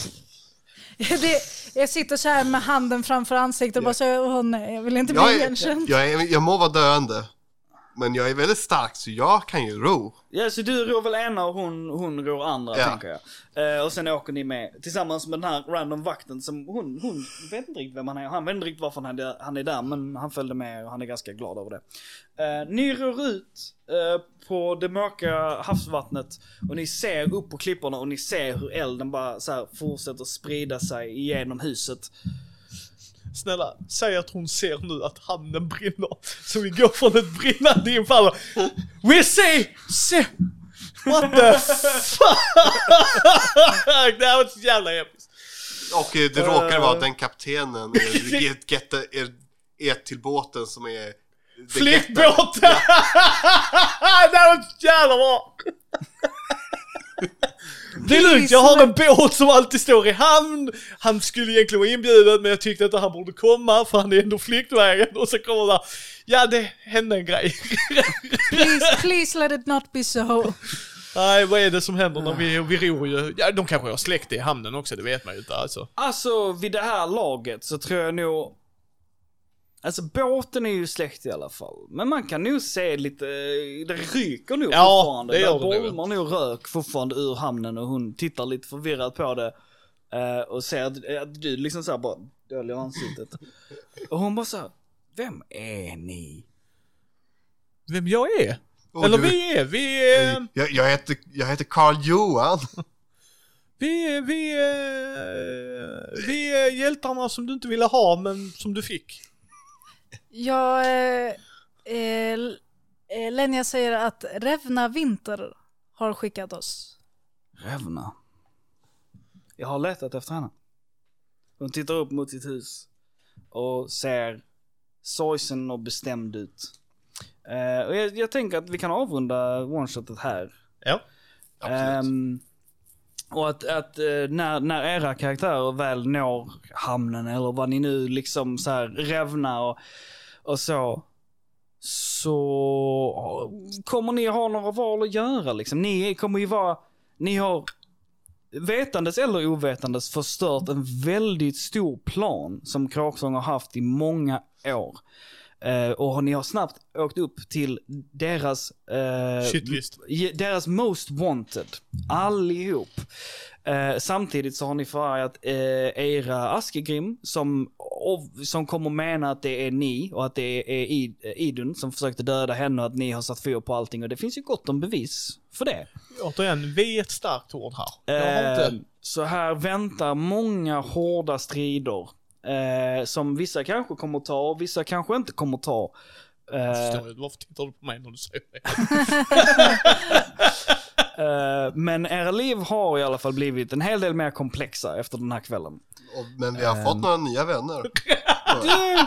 det, jag sitter så här med handen framför ansiktet och bara säger hon, jag vill inte Jag, bli är, igenkänd. jag, är, jag må vara döende, men jag är väldigt stark så jag kan ju ro. Ja, så du ror väl ena och hon, hon ror andra, Ja. tänker jag. Eh, och sen åker ni med, tillsammans med den här random vakten som hon, hon vet inte riktigt vem han är. Han vet inte riktigt varför han är, han är där, men han följde med och han är ganska glad över det. Eh, ni ror ut eh, på det mörka havsvattnet och ni ser upp på klipporna och ni ser hur elden bara så här fortsätter sprida sig igenom huset. Snälla, säg att hon ser nu att hamnen brinner. Så vi går från ett brinnande infall och- We see! see. What the fuck! Det här var så jävla episkt. Och eh, det råkar vara att den kaptenen eh, get- get- är, är till båten som är... det getta. Flyttbåten! det här var så jävla bra! Det är lugnt, jag har en båt som alltid står i hamn. Han skulle egentligen vara inbjuden men jag tyckte inte han borde komma för han är ändå flyktvägen. Och så kommer där, ja det hände en grej. Please, please let it not be so. Nej, vad är det som händer Ah. när vi, vi ror ju? Ja, de kanske har släkt i hamnen också, det vet man ju inte alltså. Alltså vid det här laget så tror jag nog... Alltså båten är ju släkt i alla fall. Men man kan nog se lite, det ryker nog Ja, fortfarande. det gör Där det nog. bolmar nog rök fortfarande ur hamnen och hon tittar lite förvirrat på det. eh, Och ser att, att du liksom såhär bara döljer ansiktet. Och hon bara såhär, vem är ni? Vem jag är? Och Eller du- vi är, vi är, Jag, jag, heter, jag heter Carl Johan. vi är, vi är, vi är hjältarna som du inte ville ha men som du fick. Jag, eh, eh, eh, Lenja säger att Revna Vinter har skickat oss. Revna. Jag har letat efter henne. Hon tittar upp mot sitt hus och ser sorgsen och bestämd ut. Eh, och jag, jag tänker att vi kan avrunda one-shotet här. Ja. Absolut. Ehm, och att, att eh, när, när era karaktärer väl når hamnen eller vad ni nu liksom så här revnar och, och så. Så kommer ni ha några val att göra liksom. Ni kommer ju vara, ni har vetandes eller ovetandes förstört en väldigt stor plan som Kråksång har haft i många år. Eh, och ni har snabbt åkt upp till deras... eh, Shitlist. ge- deras most wanted. Allihop. Eh, samtidigt så har ni förargat eh, era Askegrim som, ov- som kommer mena att det är ni och att det är I- eh, Idun som försökte döda henne och att ni har satt fyr på allting och det finns ju gott om bevis för det. Återigen, vi är ett starkt ord här. Jag har Eh, inte... så här väntar många hårda strider. Eh, som vissa kanske kommer ta och vissa kanske inte kommer ta. Eh, Förstår jag, varför tittar du på mig när du säger det? eh, men era liv har i alla fall blivit en hel del mer komplexa efter den här kvällen. Och, men vi har fått några nya vänner. Återigen!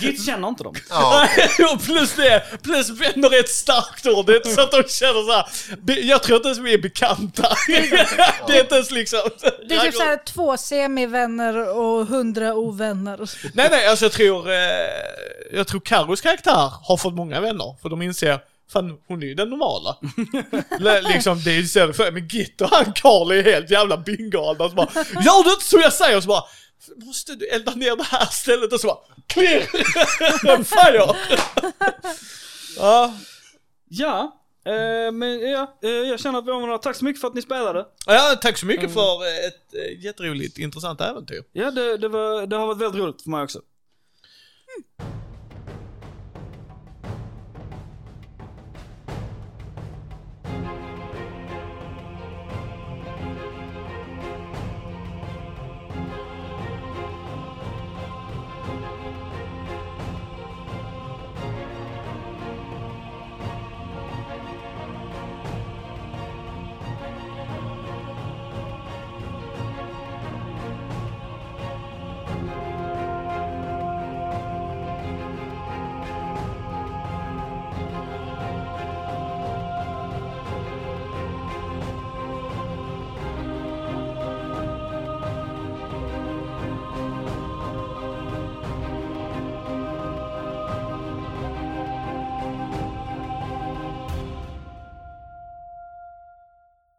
Git känner inte dem. Ja, Och plus det, plus vänner är ett starkt ord. Det är inte så att de känner så här. "Be- Jag tror inte ens vi är bekanta. Det är inte ens liksom... Det är typ såhär två semivänner och hundra ovänner. Nej, nej, alltså jag tror... Eh, jag tror Carros karaktär har fått många vänner, för de inser Fan, hon är ju den normala. L- liksom, det är ju så det för Men Git och han Karl är helt jävla bingogalna. Så bara, gör du inte som jag säger? Så bara, måste du elda ner det här stället? Och så bara, clear! Fire! ja, Ja, eh, men ja, eh, jag känner att vi har några. Tack så mycket för att ni spelade. ja, tack så mycket för ett eh, jätteroligt, intressant äventyr. Ja, det, det, var, det har varit väldigt roligt för mig också.